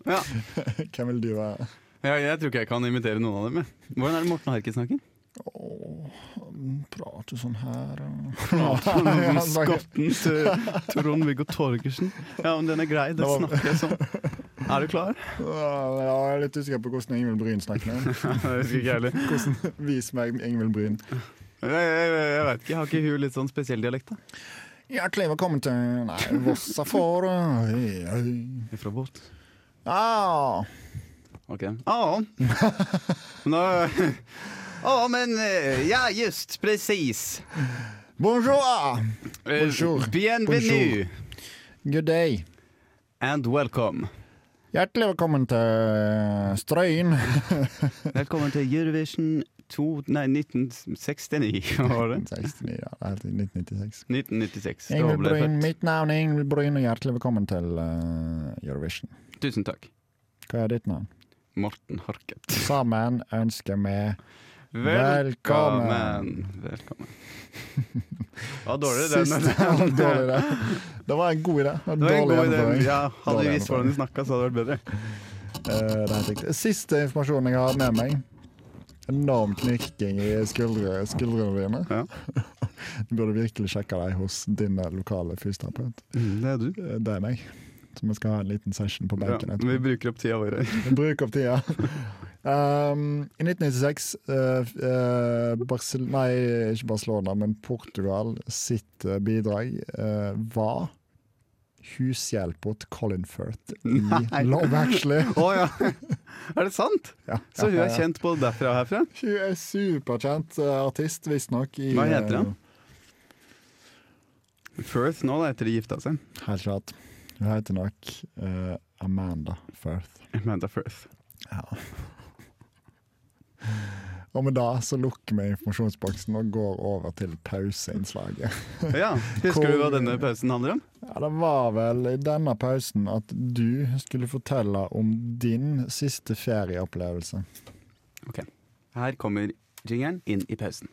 S1: Ja.
S2: Hvem vil du være?
S1: Jeg, jeg tror ikke jeg kan imitere noen av dem. jeg. Hvordan er det Morten Harket snakker?
S2: Åh, prater sånn her
S1: Prater om skotten til Trond-Viggo Torgersen. Ja, men den er grei. Det
S2: Nå-
S1: snakker jeg sånn. Er du klar?
S2: Ja, jeg er litt usikker på hvordan Ingvild Bryn snakker. nå.
S1: Jeg husker ikke heller.
S2: Vis meg Ingvild Bryn.
S1: Jeg, jeg, jeg vet ikke. Har ikke hun litt sånn spesiell dialekt, da?
S2: Hjertelig velkommen til Nei, Vossa for eh, Hei, hei.
S1: Fra båt.
S2: Ah.
S1: Ok. Ja. Nå Ja, men eh, Ja, just precis.
S2: Bonjour!
S1: Eh,
S2: Bonjour.
S1: Bienvenue
S2: Good day.
S1: and welcome.
S2: Hjertelig velkommen eh, til Strøyen.
S1: Velkommen til Eurovision 2 Nei, 1969, var det?
S2: 1969, ja, det er helt i 1996.
S1: 1996. Da
S2: Ingrid
S1: ble jeg
S2: Bryn,
S1: født.
S2: mitt navn er Ingrid Bryn, og hjertelig velkommen til eh, Eurovision.
S1: Tusen takk.
S2: Hva er ditt navn?
S1: Morten Harket.
S2: Sammen ønsker vi
S1: Velkommen. Velkommen. Det var dårlig den.
S2: Sist- Dårlig idé. Det var en god idé. Det var en
S1: Det var en god
S2: dårlig
S1: idé.
S2: gjennomføring.
S1: Ja, hadde
S2: Dårlig
S1: vi visst hvordan de snakka, så hadde det vært bedre.
S2: Eh, det er helt riktig. Siste informasjonen jeg har med meg. Enorm knirking i skuldre, skuldrene dine.
S1: Ja.
S2: Du burde virkelig sjekke deg hos din eh, lokale fysioterapeut.
S1: Det er du.
S2: Eh, Det er meg. Så vi skal ha en liten session på benken. etterpå.
S1: vi bruker opp tida vår.
S2: Bruk opp tida. Um, I 1996 eh, f- eh, Barcel Nei, ikke Barcelona, men Portugal sitt eh, bidrag eh, var hushjelpa til Colin Firth i
S1: Nei.
S2: Love Actually.
S1: Å ja! Er det sant?
S2: Ja.
S1: Så hun er kjent både derfra og herfra?
S2: Hun er superkjent eh, artist, visstnok. i,
S1: Hva heter
S2: eh,
S1: han? Firth nå, da, etter de gifta seg.
S2: eh, Helt klart. Hun heter nok eh, Amanda Firth.
S1: Amanda Firth.
S2: Og med det så lukker vi informasjonsboksen og går over til pauseinnslaget.
S1: Ja, Husker du hva denne pausen handler om?
S2: Ja, det var vel i denne pausen at du skulle fortelle om din siste ferieopplevelse.
S1: Her kommer jingeren inn i pausen.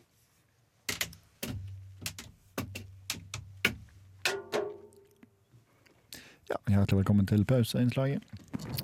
S2: Ja, Hjertelig velkommen til pauseinnslaget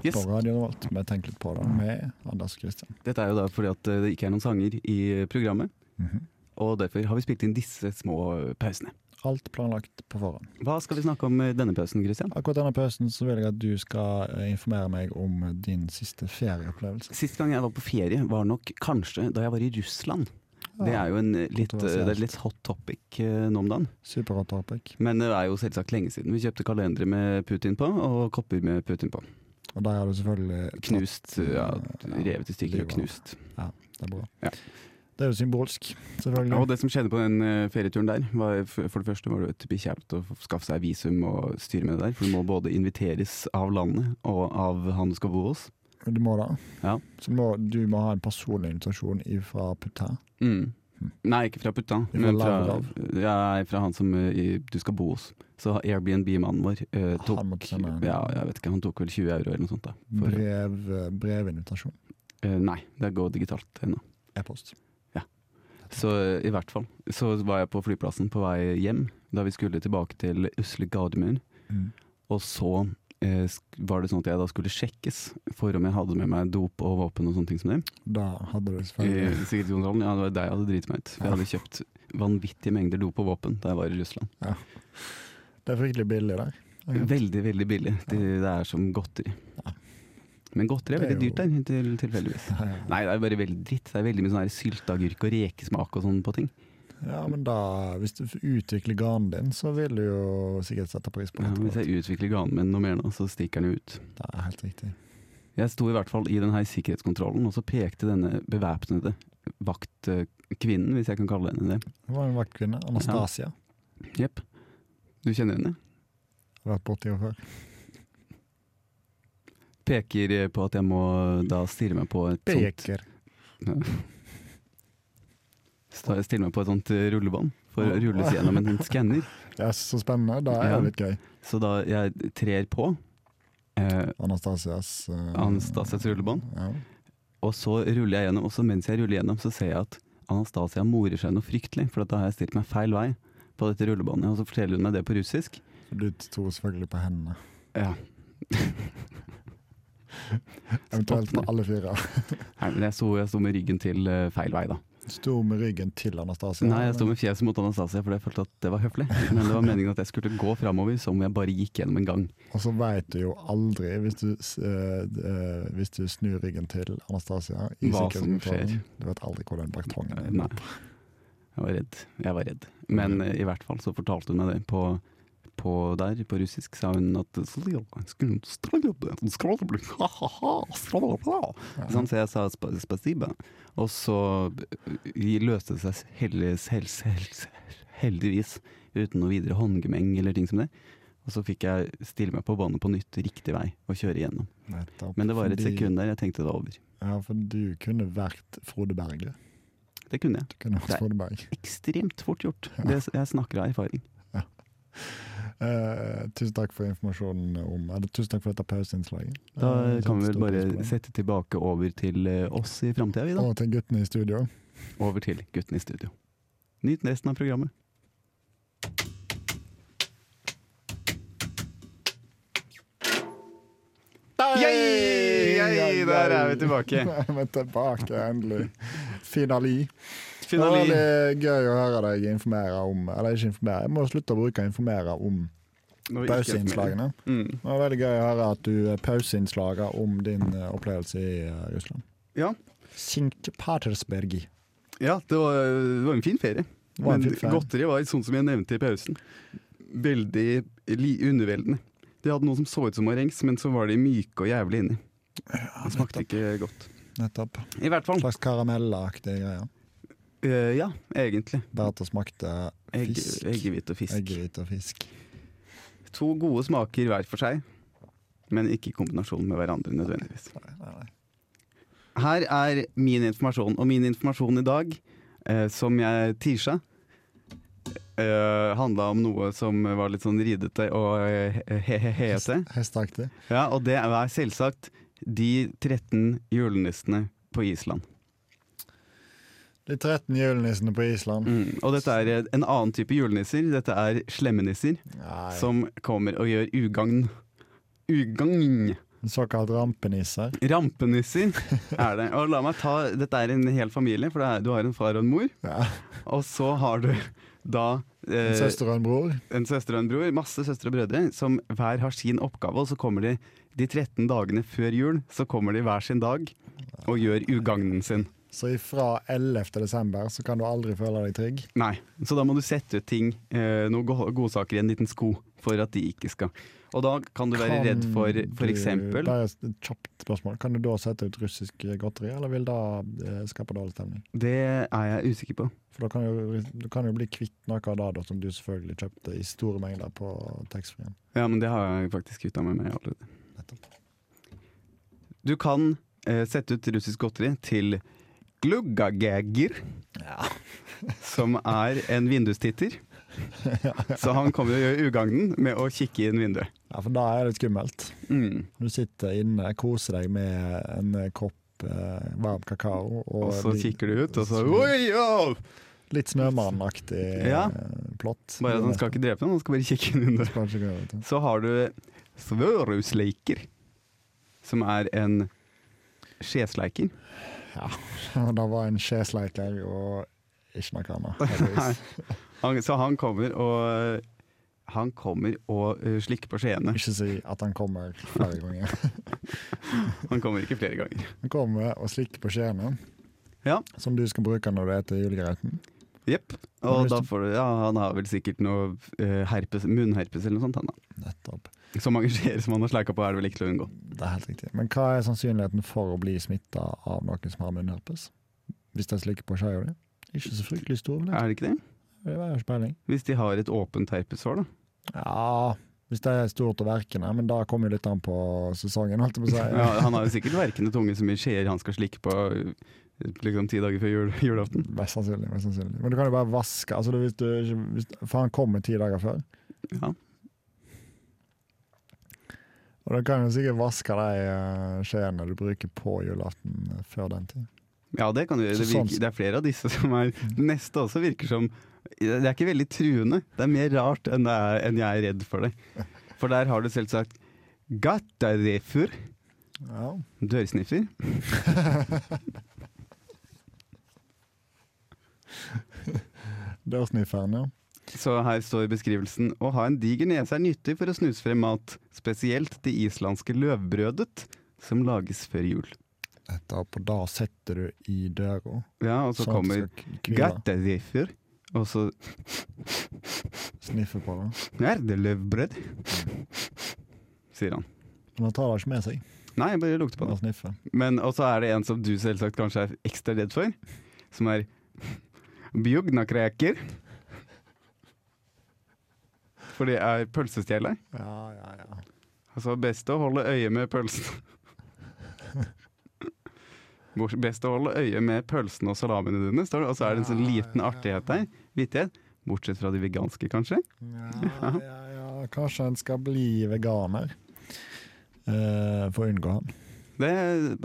S1: Yes.
S2: på Radio Revolt. Vi tenker litt på det med Anders Kristian.
S1: Dette er jo da fordi at eh, det ikke er noen sanger i eh, programmet.
S2: Mhm.
S1: Og derfor har vi spilt inn disse små eh, pausene.
S2: Alt planlagt på forhånd.
S1: Hva skal vi snakke om eh, denne pausen, Christian?
S2: Akkurat denne pausen så vil jeg at du skal eh, informere meg om din siste ferieopplevelse.
S1: Sist gang jeg var på ferie, var nok kanskje da jeg var i Russland. Det er jo en eh, litt, eh, det er litt hot topic eh, nå om dagen.
S2: Superhot topic.
S1: Men det er jo selvsagt lenge siden. Vi kjøpte kalendere med Putin på, og kopper med Putin på.
S2: Og der har du selvfølgelig
S1: Knust, ja, revet i stykker og
S2: Livet.
S1: knust.
S2: Det er bra.
S1: Ja.
S2: Det er jo symbolsk, selvfølgelig.
S1: Og det som skjedde på den eh, ferieturen der, var f- for det første var det jo et bikkjevt å f- skaffe seg visum og styre med det der. For du må både inviteres av landet og av han du skal bo hos.
S2: Du må da.
S1: Ja.
S2: Så du må, du må ha en personlig invitasjon ifra Putin.
S1: Mm. Nei, ikke fra putta,
S2: Fra
S1: men fra,
S2: Lavrov?
S1: ja, fra han som eh, i, du skal bo hos. Så Airbnb-mannen vår eh, tok
S2: måtte sende en-
S1: ja, jeg vet ikke, Han tok vel 20 euro eller noe sånt. da for,
S2: Brev, eh, brevinvitasjon.
S1: eh, Nei, det går digitalt ennå.
S2: E-post.
S1: Så eh, i hvert fall. Så var jeg på flyplassen på vei hjem da vi skulle tilbake til Usle Gardermoen.
S2: Mm.
S1: Og så eh, sk- var det sånn at jeg da skulle sjekkes for om jeg hadde med meg dop og våpen og sånne ting som det. Eh,
S2: Da hadde du
S1: I
S2: selvfølgelig
S1: sikkerhetskontrollen. Ja, det var der jeg hadde driti meg ut. For jeg hadde kjøpt vanvittige mengder dop og våpen da jeg var i Russland.
S2: Det er fryktelig billig der.
S1: Veldig, veldig billig. Det, det er som godteri.
S2: Ja.
S1: Men godteri er
S2: Det er
S1: veldig dyrt der, til, tilfeldigvis.
S2: Ja, ja.
S1: Nei, det er bare veldig dritt. Det er veldig mye sånn her sylteagurk og rekesmak og sånn på ting.
S2: Ja, men da, hvis du utvikler garnen din, så vil du jo sikkert sette pris på
S1: Ja,
S2: det.
S1: hvis jeg utvikler ganen min noe mer nå, så stikker den jo ut.
S2: Det er helt riktig.
S1: Jeg sto i hvert fall i den her sikkerhetskontrollen, og så pekte denne bevæpnede vaktkvinnen, hvis jeg kan kalle henne det.
S2: Det var en vaktkvinne. Anastasia.
S1: Jepp. Du kjenner henne?
S2: Har vært borti henne før.
S1: Peker eh, på at jeg må da stirre meg på et sånt,
S2: Beker.
S1: sta- stille meg på et sånt eh, rullebånd, for å
S2: Ja.
S1: rulles gjennom en skanner.
S2: Det er så spennende. Da er
S1: Ja.
S2: det litt gøy.
S1: Så da jeg trer på, eh,
S2: Anastasias eh,
S1: Anastasias rullebånd.
S2: Ja.
S1: og så ruller jeg gjennom, og så mens jeg ruller gjennom, så ser jeg at Anastasia morer seg noe fryktelig, for at da har jeg stilt meg feil vei på dette rullebåndet, og så forteller hun meg det på russisk.
S2: Du tror selvfølgelig på hendene.
S1: Ja.
S2: Eventuelt på
S1: Spottene.
S2: alle fire.
S1: Nei, men jeg sto, jeg sto med ryggen til eh, feil vei, da.
S2: Sto med ryggen til Anastasia.
S1: Nei, jeg sto med fjeset mot Anastasia, for jeg følte at det var høflig. Men det var meningen at jeg skulle gå framover som om jeg bare gikk gjennom en gang.
S2: Og så veit du jo aldri, hvis du, s- eh, d- eh, hvis du snur ryggen til Anastasia i
S1: Hva som Eh,
S2: sikkerhetskontrollen. Du vet aldri hvor den baktongen er.
S1: Nei. Jeg var redd. Jeg var redd. Men eh, i hvert fall så fortalte hun meg det på, på der, på russisk, sa hun at Sånn, så jeg sa spa- spasiba. Og så eh, løste det seg heldig, hel- hel- heldigvis uten noe videre håndgemeng eller ting som det. Og så fikk jeg stille meg på banen på nytt, riktig vei, og kjøre igjennom.
S2: Nettopp.
S1: Men det var et
S2: Fordi-
S1: sekund der jeg tenkte det var over.
S2: Ja, for du kunne vært Frode Berg.
S1: Det kunne jeg.
S2: Du kunne vært
S1: Nei.
S2: Frode Berg.
S1: Ekstremt fort gjort. Det, jeg snakker av erfaring.
S2: Eh, tusen takk for informasjonen om Eller tusen takk for dette pauseinnslaget.
S1: Da
S2: Eh,
S1: kan vi
S2: setter
S1: vel
S2: stor pris på
S1: bare
S2: det.
S1: sette tilbake over til eh, oss i framtida, vi da.
S2: Og til guttene i studio.
S1: Over til guttene i studio. Nyt resten av programmet. Yay! Yay! Der er vi tilbake.
S2: vi er tilbake, endelig. Finali.
S1: Finale.
S2: Det var veldig gøy å høre deg informere om Eller ikke informere, jeg må slutte å bruke informere om
S1: Nå gikk jeg ikke mer.
S2: pauseinnslagene.
S1: Mm.
S2: Det var veldig gøy å høre at du er pauseinnslaget om din eh, opplevelse i eh, Russland.
S1: Ja.
S2: Sint Patersbergi.
S1: Ja, det var, det var en fin ferie.
S2: Det var en
S1: Men
S2: fin ferie.
S1: godteri var sånn som jeg nevnte i pausen. Veldig li underveldende. De hadde noe som så ut som marengs, men så var de myke og jævlig inni. Det smakte ikke godt.
S2: Nettopp.
S1: I hvert fall.
S2: Slags karamellaktige greier.
S1: Eh, ja, egentlig.
S2: Bare at det smakte
S1: Egg,
S2: fisk.
S1: eggehvite og fisk.
S2: Eggehvite og fisk.
S1: To gode smaker hver for seg, men ikke i kombinasjon med hverandre nødvendigvis.
S2: Nei, nei, nei.
S1: Her er min informasjon, og min informasjon i dag, eh, som jeg teasa, eh, handla om noe som var litt sånn ridete og eh, he-he-hete.
S2: Hesteaktig.
S1: Ja, og det er selvsagt de 13 julenissene på Island.
S2: De 13 julenissene på Island.
S1: Mm. Og dette er eh, en annen type julenisser. Dette er slemmenisser,
S2: Nei.
S1: som kommer og gjør ugagn. Ugagn!
S2: Såkalt rampenisser.
S1: Rampenisser er det. Og la meg ta, Dette er en hel familie, for det er, du har en far og en mor.
S2: Ja.
S1: Og så har du da eh,
S2: En søster og en bror.
S1: en søster og en bror, masse søstre og brødre, som hver har sin oppgave. Og så kommer de de 13 dagene før jul, så kommer de hver sin dag og gjør ugagnen sin.
S2: Så ifra 11. desember så kan du aldri føle deg trygg.
S1: Nei. Så da må du sette ut ting, eh, noen go- godsaker i en liten sko, for at de ikke skal Og da kan du være
S2: Kan
S1: redd for
S2: du-
S1: for eksempel
S2: Bare et kjapt spørsmål. Kan du da sette ut russisk godteri, eller vil det eh, skape dårlig stemning?
S1: Det er jeg usikker på.
S2: For da kan jo, du kan jo bli kvitt noe av det da, som du selvfølgelig kjøpte i store mengder på taxfree-en.
S1: Ja, men det har jeg faktisk kvitta meg med allerede.
S2: Nettopp.
S1: Du kan eh, sette ut russisk godteri til Gluggagæger, som er en vindustitter. Så han kommer og gjør ugagnen med å kikke inn vinduet.
S2: Ja, for da er det litt skummelt.
S1: Mm.
S2: Du sitter inne, koser deg med en eh, kopp eh, varm kakao og,
S1: Og så
S2: li-
S1: kikker du ut, og så Oi, ja!
S2: litt Snømannen-aktig
S1: Ja.
S2: eh, plott.
S1: Bare at han skal ikke drepe noen, han skal bare kikke inn i vinduet.
S2: Skal ikke gå ut, ja.
S1: Så har du svørhusleiker, som er en skjesleiker.
S2: Og Det var en skjesleiker og ikke noe annet. heldigvis.
S1: Han, så han kommer og han kommer og eh, slikker på skjeene.
S2: Ikke si at han kommer flere ganger.
S1: Han kommer ikke flere ganger.
S2: Han kommer og slikker på skjeene,
S1: Ja.
S2: som du skal bruke når du spiser julegrauten.
S1: Jepp.
S2: Har
S1: Og
S2: du lyst
S1: da får du Ja, han har vel sikkert noe eh, herpes, munnherpes eller noe sånt. Han, da.
S2: Nettopp.
S1: Så mange skjeer som han har sleika på, er det vel ikke til å unngå.
S2: Det er helt riktig. Men hva er sannsynligheten for å bli smitta av noen som har munnherpes? Hvis de slikker på skjea di? Ikke så fryktelig stor, vel?
S1: Er det ikke det?
S2: Det var jo ikke peiling.
S1: Hvis de har et åpent herpessår, da.
S2: Ja, hvis det er stort og verkende, men da kommer jo litt an på sesongen, holdt jeg på å si.
S1: Ja, han har jo sikkert verkende tunge så mye skjeer han skal slikke på eh, liksom ti dager før jul, julaften.
S2: Mest sannsynlig. mest sannsynlig. Men du kan jo bare vaske, altså hvis du, ikke- hvis, for han kommer ti dager før.
S1: Ja.
S2: Og da kan du sikkert vaske de eh, skjeene du bruker på julaften eh, før den tid.
S1: Ja, det kan du gjøre. Det,
S2: Så sånn-
S1: virker, det er flere av disse som er Den neste også virker som Det er ikke veldig truende. Det er mer rart enn, det er, enn jeg er redd for det. For der har du selvsagt gattarefur,
S2: Ja.
S1: dørsniffer.
S2: Dørsnifferen, ja.
S1: Så her står beskrivelsen Å ha en diger nese er nyttig for å snuse frem mat, spesielt det islandske løvbrødet, som lages før jul.
S2: Etterpå, da setter du i døra.
S1: Ja, og så
S2: sånn at du
S1: kommer
S2: skal k- kvile,
S1: gattarefur, og så
S2: Sniffe på det.
S1: er det løvbrød, sier han.
S2: Men han tar det ikke med seg.
S1: Nei, jeg bare lukter på det.
S2: Bare sniffer.
S1: Men også er det en som du selvsagt kanskje er ekstra redd for, som er bjugnakreker. For det er pølsestjeler.
S2: Ja, ja, ja.
S1: Altså best å holde øye med pølsen. Bors- Best å holde øye med pølsene og salamiene dine, står det. Og så er det en sånn liten artighet der. Vittighet. Bortsett fra de veganske, kanskje.
S2: Ja, ja, ja. Kanskje en skal bli veganer. Eh, for å unngå han.
S1: Det,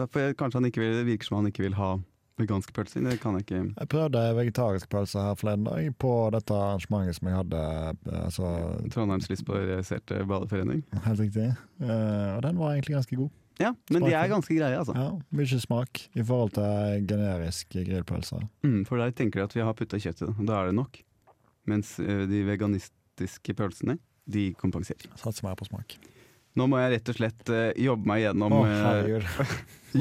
S1: for jeg- kanskje han ikke vil, det virker som han ikke vil ha veganske pølser. Det kan jeg ikke
S2: Jeg prøvde vegetarisk pølse her forleden dag på dette arrangementet som jeg hadde. eh, Altså,
S1: Trondheims lystbaserte badeforening.
S2: helt riktig. Eh, og den var egentlig ganske god.
S1: Ja, men de er
S2: Smaken.
S1: ganske greie, altså.
S2: Ja, Mye smak i forhold til generisk grillpølse.
S1: Mm, for der tenker de at vi har putta kjøtt i det, og da er det nok. Mens ø, de veganistiske pølsene, de kompenserer.
S2: Satser mer på smak.
S1: Nå må jeg rett og slett ø, jobbe, meg
S2: Å,
S1: gjennom, ø,
S2: herregud.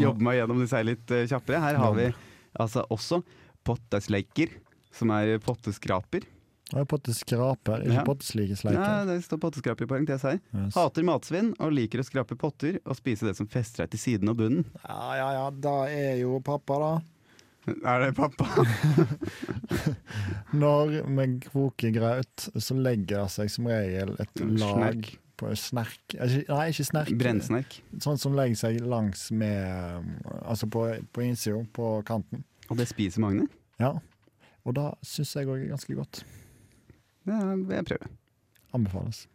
S1: jobbe meg gjennom disse her litt ø, kjappere. Her har vi altså også pottesleiker, som er potteskraper.
S2: Det er potteskraper, ikke
S1: Ja.
S2: potteslike
S1: Ja,
S2: sleiker.
S1: det står potteskraper i parentes her.
S2: Yes.
S1: Hater matsvinn og liker å skrape potter og spise det som fester seg til siden og bunnen.
S2: Ja, ja, ja, da er jo pappa, da.
S1: Er det pappa?
S2: Når vi koker graut, så legger det seg som regel et lag
S1: Snerk.
S2: på en snerk Ikke- Nei, ikke snerk.
S1: Brennsnerk.
S2: Sånn som legger seg langs med Altså på, på innsida, på kanten.
S1: Og det spiser Magne?
S2: Ja. Og da syns jeg òg er ganske godt.
S1: Ja, jeg prøver.
S2: Anbefales.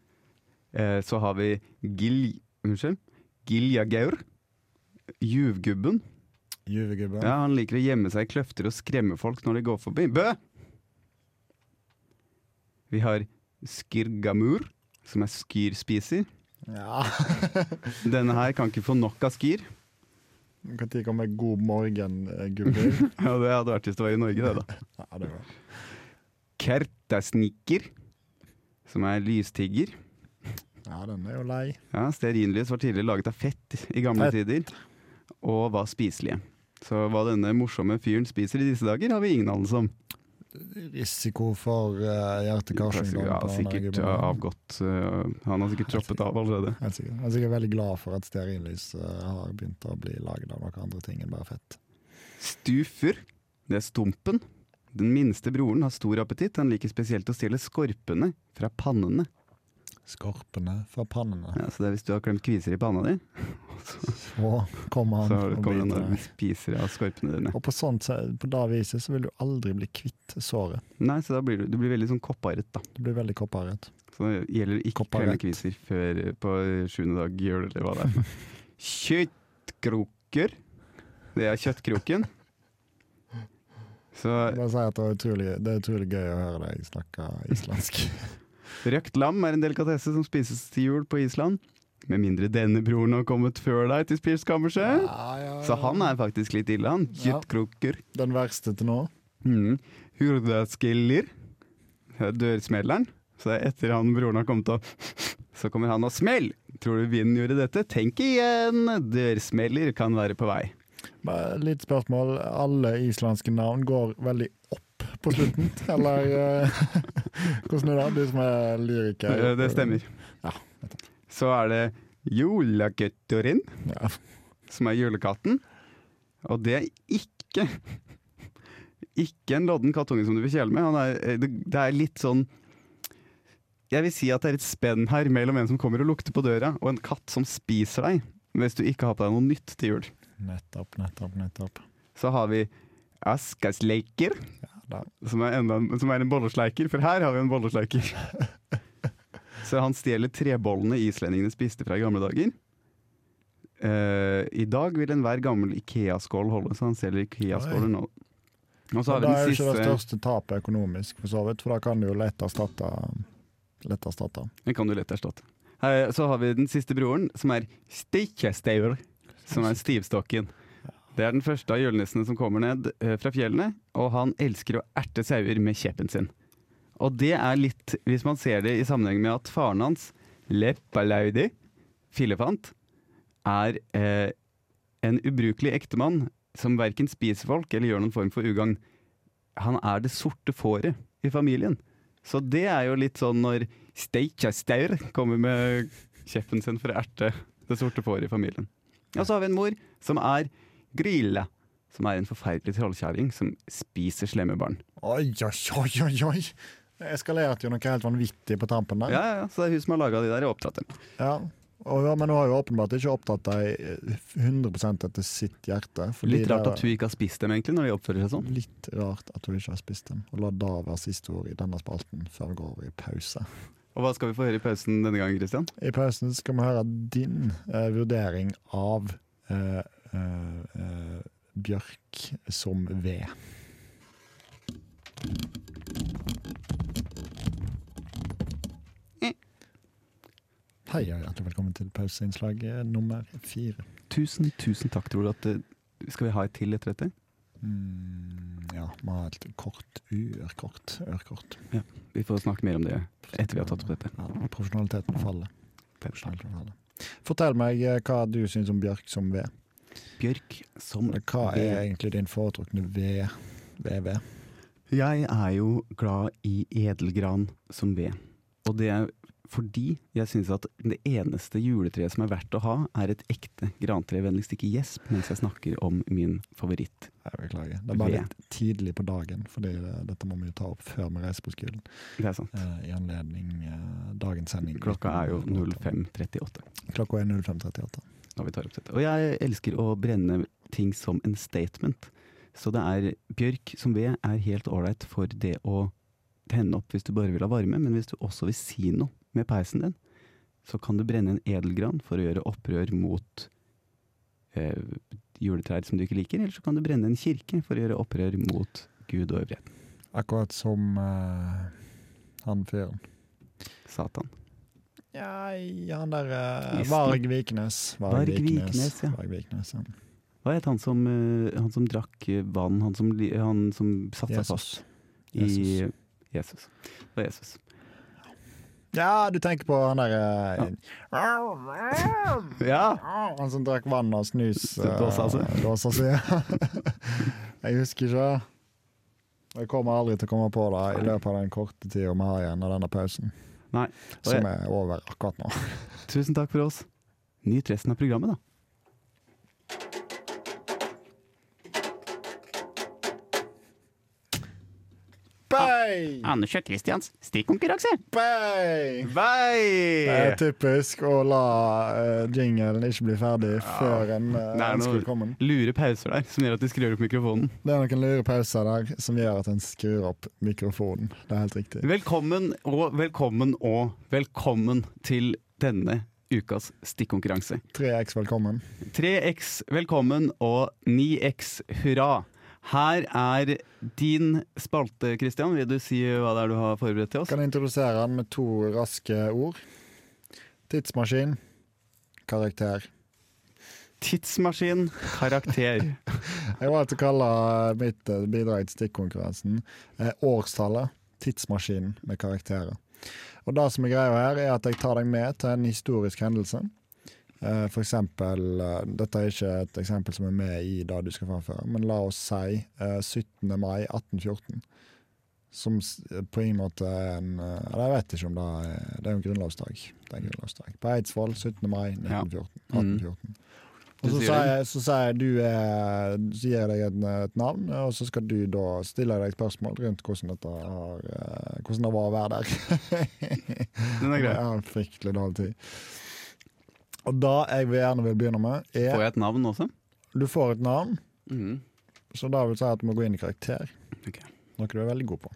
S1: Eh, så har vi Gil... Unnskyld. Giljagaur. Juvgubben.
S2: Juvegubbe.
S1: Ja, han liker å gjemme seg i kløfter og skremme folk når de går forbi. Bø! Vi har Skirgamur, som er skyrspiser.
S2: Ja.
S1: Denne her kan ikke få nok av skyr.
S2: Når kommer god morgen-gubber?
S1: Ja, Det hadde vært hvis det var i Norge, det, da.
S2: Ja, det var
S1: Kertasniker, som er lystigger.
S2: Ja, den er jo lei.
S1: Ja, Stearinlys var tidligere laget av fett i gamle
S2: Fett.
S1: tider, og var spiselige. Så hva denne morsomme fyren spiser i disse dager, har vi ingen anelse om.
S2: Risiko for uh, hjerte-karsykdom.
S1: Ja,
S2: på den der
S1: sikkert
S2: gubben.
S1: avgått. øh, Han har sikkert troppet av allerede.
S2: Helt sikkert. Jeg er sikkert veldig glad for at stearinlys eh, har begynt å bli laget av noen andre ting enn bare fett.
S1: Stufer, det er stumpen. Den minste broren har stor appetitt. Han liker spesielt å stjele skorpene fra pannene.
S2: Skorpene fra pannene.
S1: Ja, så det er hvis du har klemt kviser i panna di, så,
S2: Så kommer
S1: så
S2: han
S1: har du-
S2: og
S1: kommer han
S2: biter
S1: og
S2: deg.
S1: spiser av skorpene dine.
S2: Og på, sånt, se- på det viset så vil du aldri bli kvitt såret.
S1: Nei, så da blir du, du blir veldig sånn kopparret, da.
S2: Du blir veldig kopparret.
S1: Så det gjelder ikke å klemme
S2: Kopparett.
S1: kviser før eh, øh, på sjuende dag, jul eller hva det er. Kjøttkroker. Det er kjøttkroken. Så
S2: Bare si at det er, utrolig, det er utrolig gøy å høre deg snakke islandsk.
S1: røkt lam er en delikatesse som spises til jul på Island. Med mindre denne broren har kommet før deg til spiskammerset.
S2: Ja, ja, ja.
S1: Så han er faktisk litt ille, han.
S2: Ja.
S1: Kjøttkroker.
S2: Den verste til nå.
S1: Mm. Hurdalsgillir. Dørsmelleren. Så etter han broren har kommet opp, så kommer han og smell! Tror du vinden gjorde dette? Tenk igjen! Dørsmeller kan være på vei.
S2: Bare et lite spørsmål. Alle islandske navn går veldig opp på slutten, eller eh, hvordan er det? Du som er lyriker.
S1: Eh, Det stemmer.
S2: Ja.
S1: Så er det Jolaguttorin,
S2: Ja.
S1: som er julekatten. Og det er ikke Ikke en lodden kattunge som du vil kjæle med. Han er, eh, det det er litt sånn Jeg vil si at det er et spenn her mellom en som kommer og lukter på døra, og en katt som spiser deg hvis du ikke har på deg noe nytt til jul.
S2: Nettopp, nettopp, nettopp.
S1: Så har vi Askasleiker,
S2: da.
S1: som, er enda, som er en bollesleiker, for her har vi en bollesleiker. Så han stjeler trebollene islendingene spiste fra i gamle dager. Eh, I dag vil enhver gammel Ikea-skål holde, så han selger Ikea-skåler nå. Og så har vi
S2: Men det er
S1: den
S2: jo ikke det
S1: siste
S2: største tapet økonomisk, for så vidt, for da kan du jo lett erstatte Lett erstatte.
S1: Den kan du lett erstatte. Her, så har vi den siste broren, som er Stikkjestaur, som er stivstokken. Det er den første av julenissene som kommer ned eh, fra fjellene, og han elsker å erte sauer med kjeppen sin. Og det er litt, hvis man ser det i sammenheng med at faren hans, Leppalaudi, fillefant, er eh, en ubrukelig ektemann som verken spiser folk eller gjør noen form for ugagn. Han er det sorte fåret i familien. Så det er jo litt sånn når Steikjestaur kommer med kjeppen sin for å erte det sorte fåret i familien. Og så har vi en mor som er Grille, som er en forferdelig trollkjerring som spiser slemme barn.
S2: Oi, oi, oi, oi! oi. Det eskalerte jo noe helt vanvittig på tampen der.
S1: Ja, ja, ja, Så det er hun som har laga de der i opptatt.
S2: Ja. Og, ja, men hun har jo åpenbart ikke opptatt deg 100 etter sitt hjerte. fordi
S5: Litt rart
S2: det-
S5: at hun ikke har spist dem, egentlig, når de oppfører seg sånn.
S2: Litt rart at du ikke har spist dem. Og la da være siste ord i denne spalten før vi går over i pause.
S1: Og hva skal vi få høre i pausen denne gangen, Christian?
S2: I pausen skal vi høre din eh, vurdering av eh, eh, eh, bjørk som ved. Hei og hjertelig velkommen til pauseinnslag eh, nummer fire.
S5: Tusen, tusen takk. Tror du at eh, Skal vi ha et til etter dette?
S2: Mm, ja, vi har et kort u-ørkort. Ørkort.
S5: Vi får snakke mer om det etter vi har tatt opp dette.
S2: Ja, profesjonaliteten faller. Profesjonaliteten faller. Fortell meg eh, hva du syns om bjørk som ved.
S5: Bjørk som
S2: Hva er egentlig din foretrukne ved? VV?
S5: Jeg er jo glad i edelgran som ved. Og det er fordi jeg syns at det eneste juletreet som er verdt å ha, er et ekte grantre. Vennligst ikke gjesp mens jeg snakker om min favoritt.
S2: Jeg beklager. Det er bare
S5: Ved.
S2: litt tidlig på dagen, fordi det, dette må vi jo ta opp før vi reiser på skolen.
S5: Det er sant.
S2: eh, I anledning eh, dagens sending.
S5: Klokka er jo 05.38
S2: Klokka er 05.38.
S5: når vi tar opp dette. Og jeg elsker å brenne ting som en statement. Så det er bjørk som ved er helt ålreit for det å tenne opp hvis du bare vil ha varme, men hvis du også vil si noe med peisen din, så kan du brenne en edelgran for å gjøre opprør mot eh, juletrær som du ikke liker, eller så kan du brenne en kirke for å gjøre opprør mot Gud og øvrigheten.
S2: Akkurat som eh, han fyren.
S5: Satan.
S2: Ja, han der eh,
S5: Gisle.
S2: Varg Vikenes.
S5: Varg Viknes, ja.
S2: Varg Viknes, ja.
S5: Hva het han som, eh, han som drakk eh, vann, han som, li- han som satte seg fast
S2: Jesus.
S5: i
S2: Jesus.
S5: Jesus. Det var Jesus.
S2: Ja, du tenker på han der eh,
S1: Ja!
S2: Han som drakk vann og snus. eh,
S5: Dåsa si.
S2: Dåsa si. jeg husker ikke. Og Jeg kommer aldri til å komme på det i løpet av den korte tida vi har igjen av denne pausen.
S5: Nei,
S2: Som er over akkurat nå.
S5: Tusen takk for oss. Nyt resten av programmet, da.
S2: Bay!
S1: Anders og Mm. Christians stikkonkurranse.
S2: Bay! Det
S1: Vei!
S2: er typisk å la eh, jinglen ikke bli ferdig før en uh,
S1: Det er
S2: ønskelig
S1: noe-
S2: kommer.
S1: Lure pauser der, som gjør at de skrur opp mikrofonen.
S2: Det er noen lure pauser der som gjør at en skrur opp mikrofonen. Det er helt riktig.
S1: Velkommen og velkommen og velkommen til denne ukas stikkonkurranse.
S2: 3X, velkommen.
S1: 3X velkommen og 9X hurra. Her er din spalte, Christian. Vil du si hva det er du har forberedt til oss?
S2: Kan jeg introdusere den med to raske ord? Tidsmaskin. Karakter.
S1: Tidsmaskin, karakter.
S2: Jeg valgte å kalle mitt eh, bidrag til stikkonkurransen eh, årstallet tidsmaskinen med karakterer. Og det som er greia her, er at jeg tar deg med til en historisk hendelse. Eh, For eksempel, eh, dette er ikke et eksempel som er med i det du skal framføre, men la oss si eh, 17. mai 1814. Som s- eh, på ingen måte er en eh, Eller jeg vet ikke om det er Det er jo en grunnlovsdag. Det er en grunnlovsdag. På Eidsvoll 17. mai 1914. 1814. Og
S1: Du sier
S2: så sier
S1: det.
S2: jeg, så sier jeg du er, så gir jeg deg et, et navn, og så skal du da stille deg spørsmål rundt hvordan, dette har, eh, hvordan det var å være der.
S1: Den er grei.
S2: Jeg har fryktelig dårlig tid. Og det jeg vil gjerne vil begynne med,
S1: Får
S2: er
S1: jeg et navn også?
S2: Du får et navn,
S1: Mhm.
S2: så da vil jeg si at du må gå inn i karakter.
S1: Ok.
S2: Noe du er veldig god på.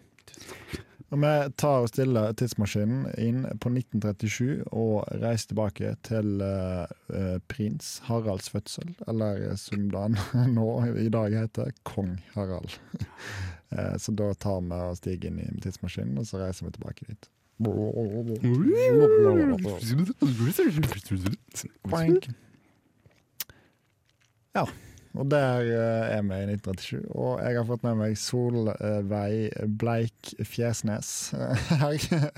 S2: Og vi tar og stiller tidsmaskinen inn på 1937 og reiser tilbake til eh, eh, prins Haralds fødsel, eller eh, som det han nå i dag heter, kong Harald. Eh, så da tar vi og stiger inn i tidsmaskinen, og så reiser vi tilbake dit. Boink. Ja, og der eh, er vi i 1937. Og jeg har fått med meg Solveig Bleik Fjesnes eh, her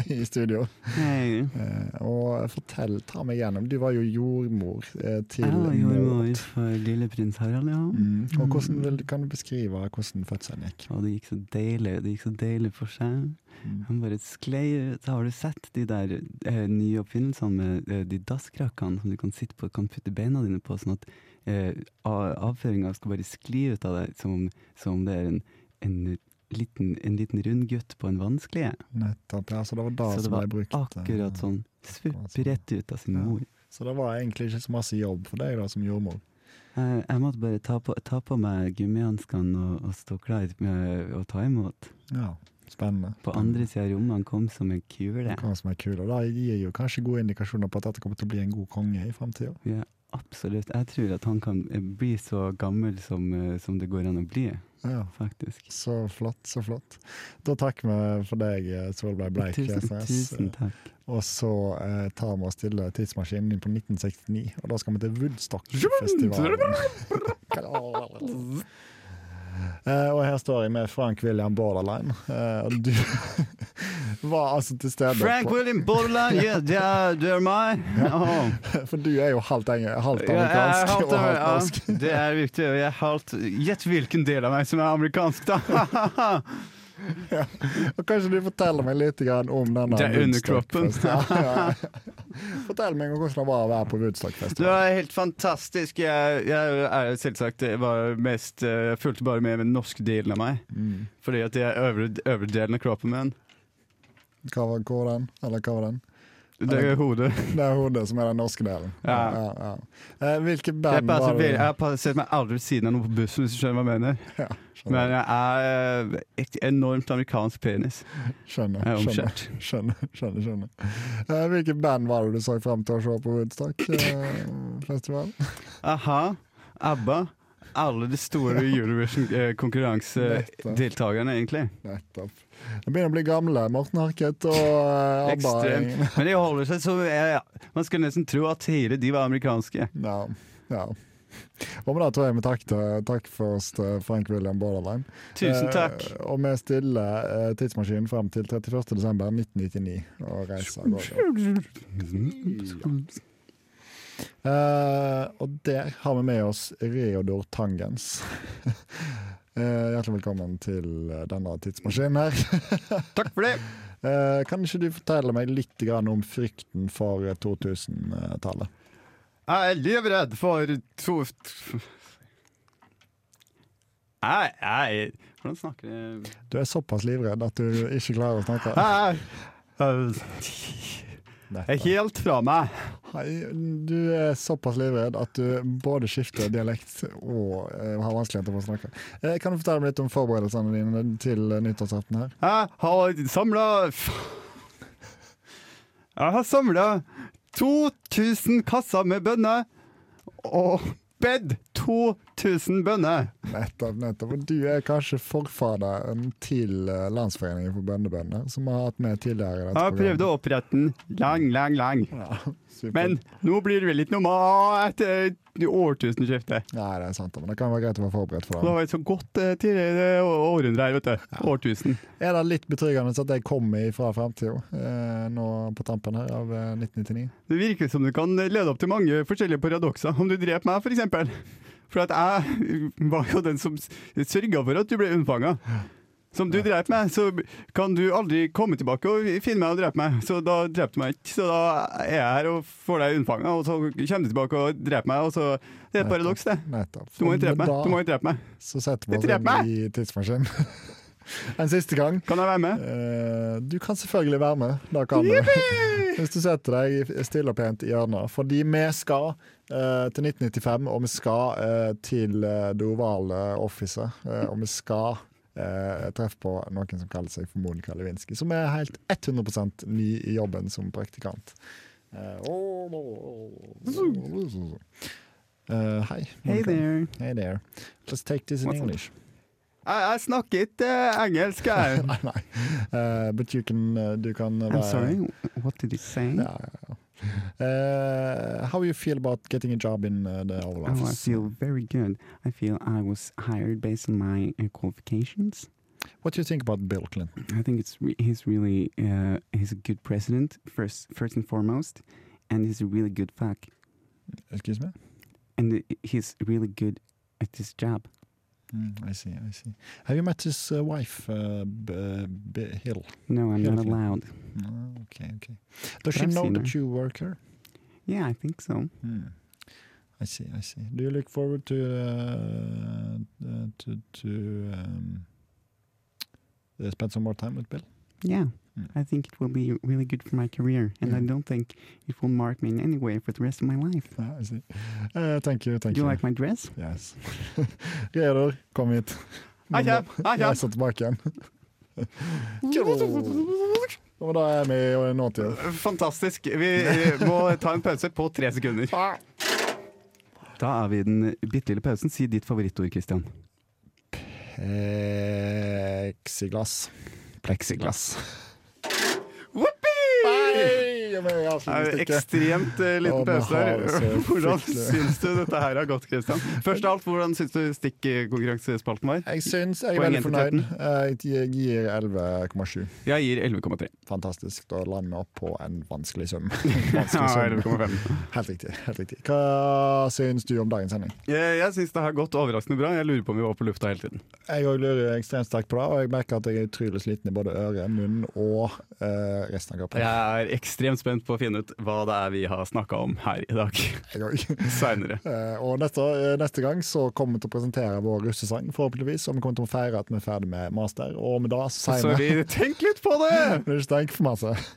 S2: i studio.
S1: Hei.
S2: Eh, Og fortell, ta meg gjennom. Du var jo jordmor eh, til
S1: Jeg var jordmor
S2: Maud.
S1: for lille prins Harald, ja.
S2: Mm. Og hvordan vil, kan du beskrive hvordan fødselen gikk?
S1: Og det gikk så deilig, det gikk så deilig for seg.
S2: Mm.
S1: Han bare sklei ut. Har du sett de der eh, nye oppfinnelsene med eh, de dasskrakene som du kan sitte på, kan putte beina dine på, sånn at eh, avføringa skal bare skli ut av deg, som om, som om det er en, en liten, en liten rund gutt på en vannsklie.
S2: Nettopp, ja, så det var da
S1: Så det
S2: som
S1: var
S2: jeg brukte
S1: Akkurat sånn.
S2: Akkurat
S1: Svupp
S2: sånn.
S1: rett ut av sin
S2: Ja.
S1: mor.
S2: Så det var egentlig ikke så masse jobb for deg da som jordmor.
S1: Jeg, jeg måtte bare ta på, ta på meg gummihanskene og, og stå klar med å ta imot.
S2: Ja, spennende.
S1: På andre sida av rommet han kom som en kule.
S2: Hva som er kul, og Det gir jo kanskje gode indikasjoner på at dette kommer til å bli en god konge i framtida.
S1: Ja, absolutt. Jeg tror at han kan eh, bli så gammel som, eh, som det går an å bli,
S2: Ja.
S1: faktisk.
S2: Så flott, så flott. Da takker vi for deg, eh, Solveig Bleik.
S1: Tusen,
S2: Fjesnes.
S1: tusen takk.
S2: Og så eh, tar vi og stiller tidsmaskinen inn på 1969, og da skal vi til Woodstock-festivalen. Eh, og her står jeg med Frank William Borderline, eh, og du var altså til stede
S1: Frank
S2: på,
S1: William Borderland, ja, det er- det er meg! Åh.
S2: For du er jo halvt, eng halvt
S1: Ja, jeg er
S2: amerikansk
S1: halvt,
S2: og halvt
S1: ja,
S2: norsk.
S1: det er viktig. og Jeg er halvt Gjett hvilken del av meg som er amerikansk, da!
S2: Og kanskje du forteller meg litt grann om denne
S1: Det er
S2: Woodstock-festivalen.
S1: underkroppen.
S2: Ja, ja. Fortell meg om hvordan det var å være på
S1: Du
S2: Woodstock-festivalen.
S1: er helt fantastisk. Jeg, jeg er selvsagt bare mest eh, Jeg fulgte bare med med den norske delen av meg.
S2: Mm.
S1: Fordi at jeg er øvre, øvre delen av kroppen min.
S2: Hva var, hvor var den? Eller hva var den?
S1: Det er hodet.
S2: Det er hodet som er den norske delen.
S1: Ja.
S2: Ja, ja. Eh, Hvilke
S1: Jeg,
S2: band
S1: passer,
S2: var det?
S1: vel- jeg har sett meg aldri ved siden av noen på bussen, hvis du skjønner hva jeg mener.
S2: Ja,
S1: Men
S2: skjønner,
S1: jeg er eh, et enormt amerikansk penis. Jeg
S2: skjønner,
S1: er
S2: skjønner,
S1: omskjært.
S2: skjønner, skjønner, skjønner. Eh, Hvilke band var det du så frem til å se på eh, Woodstock-festivalen?
S1: Aha. ABBA. Alle de store Eurovision-konkurransedeltakerne, egentlig.
S2: Nettopp. Jeg begynner å bli gamle. Morten Harket og eh, ABBA.
S1: Ekstremt. Men de holder seg så eh, Man skulle nesten tro at hele de var amerikanske.
S2: Ja, ja. Og med det tror jeg vi takker takk først eh, Frank William Borderline.
S1: Tusen takk.
S2: Eh, og vi stiller eh, tidsmaskinen frem til 31.12.1999 og reiser av gårde. Eh, og der har vi med oss Reodor Tangens. Eh, hjertelig velkommen til eh, denne tidsmaskinen her.
S1: Takk for det.
S2: Eh, kan ikke du fortelle meg litt grann om frykten for eh, 2000-tallet?
S1: Jeg er livredd for to... Jeg, jeg Hvordan snakker jeg
S2: Du er såpass livredd at du ikke klarer å snakke.
S1: Jeg er
S2: Nettopp.
S1: helt fra meg.
S2: Hei, Du er såpass livredd at du både skifter dialekt og eh, har vanskeligheter for å snakke. Eh, kan du fortelle meg litt om forberedelsene dine til eh, nyttårsaften her?
S1: Jeg har samla Jeg har samla 2000 kasser med bønner! Og bed 2000 bønner!
S2: Nettopp, nettopp. Og du er kanskje forfaderen til eh, Landsforeningen for bøndebønder, som har hatt med tidligere i
S1: Jeg har prøvd å opprette den lang, lang, lang.
S2: Supert.
S1: Men nå blir det vel ikke noe mat eh, etter årtusenskiftet.
S2: Nei, det er sant, men det kan være greit å være forberedt for
S1: Det
S2: det.
S1: var et så godt eh, tidligere århundre her, vet du. Årtusen.
S2: Er det litt betryggende at jeg kommer fra framtida eh, nå på tampen her av eh, 1999?
S1: Det virker som du kan lede opp til mange forskjellige paradokser. Om du dreper meg, for eksempel. For at jeg eh, var jo den som s- sørga for at du ble unnfanga. Som du drep meg, så kan du aldri komme tilbake og finne meg og drepe meg. Så da drepte du meg ikke. Så da er jeg her og får deg unnfanga, og så kommer du tilbake og dreper meg, og så Det er et paradoks, det.
S2: Nettopp.
S1: Du må ikke drepe
S2: Men
S1: meg.
S2: da-
S1: Du må ikke drepe meg.
S2: Så setter vi
S1: Du dreper
S2: oss inn i tidsmaskinen. en siste gang.
S1: Kan jeg være med?
S2: Eh, Du kan selvfølgelig være med. Da kan du. Hvis du setter deg stille og pent i hjørnet. Fordi vi skal eh, til 1995, og vi skal eh, til eh, det ovale officet. eh, og vi skal eh, treffe på noen som kaller seg for Monica Lewinsky, som er helt 100 ny i jobben som praktikant. Eh, å, å, å, å, å, å. Eh, hei.
S1: Hey
S2: Monica.
S1: there.
S2: Hey there. Let's take this in
S1: What's up?
S2: English.
S1: Jeg, jeg snakker ikke eh, engelsk, jeg.
S2: Nei, nei. Eh, but you can, eh, du kan være
S1: I'm sorry, Mm-hmm. what did you say?
S2: Ja, ja, ja. Eh, how you feel about getting a job in eh, the Oval
S1: Oh, I
S2: Office?
S1: feel very good. I feel I was hired based on my uh, qualifications.
S2: What do you think about Bill Clinton?
S1: I think it's re- he's really uh, he's a good president first first and foremost, and he's a really good fuck,
S2: Excuse me?
S1: and uh, he's really good at this job.
S2: Mm, I see, I see. Have you met his eh, wife, eh, B B Hill?
S1: No, I'm not
S2: Beautiful.
S1: allowed.
S2: No, okay, okay. Does she
S1: I've
S2: know
S1: seen
S2: that
S1: her.
S2: you work here?
S1: Yeah, I think so.
S2: Hmm. I see, I see. Do you look forward to eh, eh, to, to um, eh, spend some more time with Bill?
S1: Yeah,
S2: Mm.
S1: I think it will be really good for my career, and I
S2: Yeah.
S1: don't think it will mark me in any way for the rest of my life.
S2: Ah, I see. Eh, thank you, thank
S1: Do you
S2: you.
S1: like my dress?
S2: Yes. Reodor, kom hit.
S1: Hei, kjef! Hei,
S2: Jeg
S1: kjef!
S2: står tilbake igjen. Og da er vi i nåtid.
S1: Fantastisk. Vi eh, må ta en pause på tre sekunder.
S6: Da er vi i den bitte lille pausen. Si ditt favorittord, Christian.
S2: Plexiglass. Plexiglass.
S1: Whoopee!
S2: Nei, jeg mener, jeg
S1: Det
S2: avslutter
S1: er jo
S2: ikke.
S1: ekstremt eh,
S2: Å,
S1: liten
S2: men
S1: pause
S2: har det så
S1: her. Hvordan
S2: fryktelig.
S1: syns du dette her har gått, Kristian? Først av alt, hvordan syns du stikkkonkurransespalten var?
S2: Jeg syns jeg er
S1: Poeng
S2: veldig fornøyd. Eh,
S1: til
S2: Jeg gir 11,7.
S1: Jeg gir 11,3.
S2: Fantastisk. Da lander vi opp på en vanskelig sum.
S1: Ja,
S2: Vanskelig sum.
S1: 11,5.
S2: Helt riktig. helt riktig. Hva syns du om dagens sending?
S1: Jeg, jeg syns det har gått overraskende bra. Jeg lurer på om vi var på lufta hele tiden.
S2: Jeg òg lurer ekstremt sterkt på det, og jeg merker at jeg er utrolig sliten i både øre, munn og eh, resten av kroppen.
S1: Jeg er ekstremt spent på å finne ut hva det er vi har snakka om her i dag
S2: Jeg også.
S1: seinere.
S2: Eh, og neste, eh, neste gang så kommer vi til å presentere vår russesang, forhåpentligvis. Og vi kommer til å feire at vi er ferdig med master, og med det
S1: Så
S2: sier vi
S1: vi tenk litt på det!
S2: Ikke tenk for masse.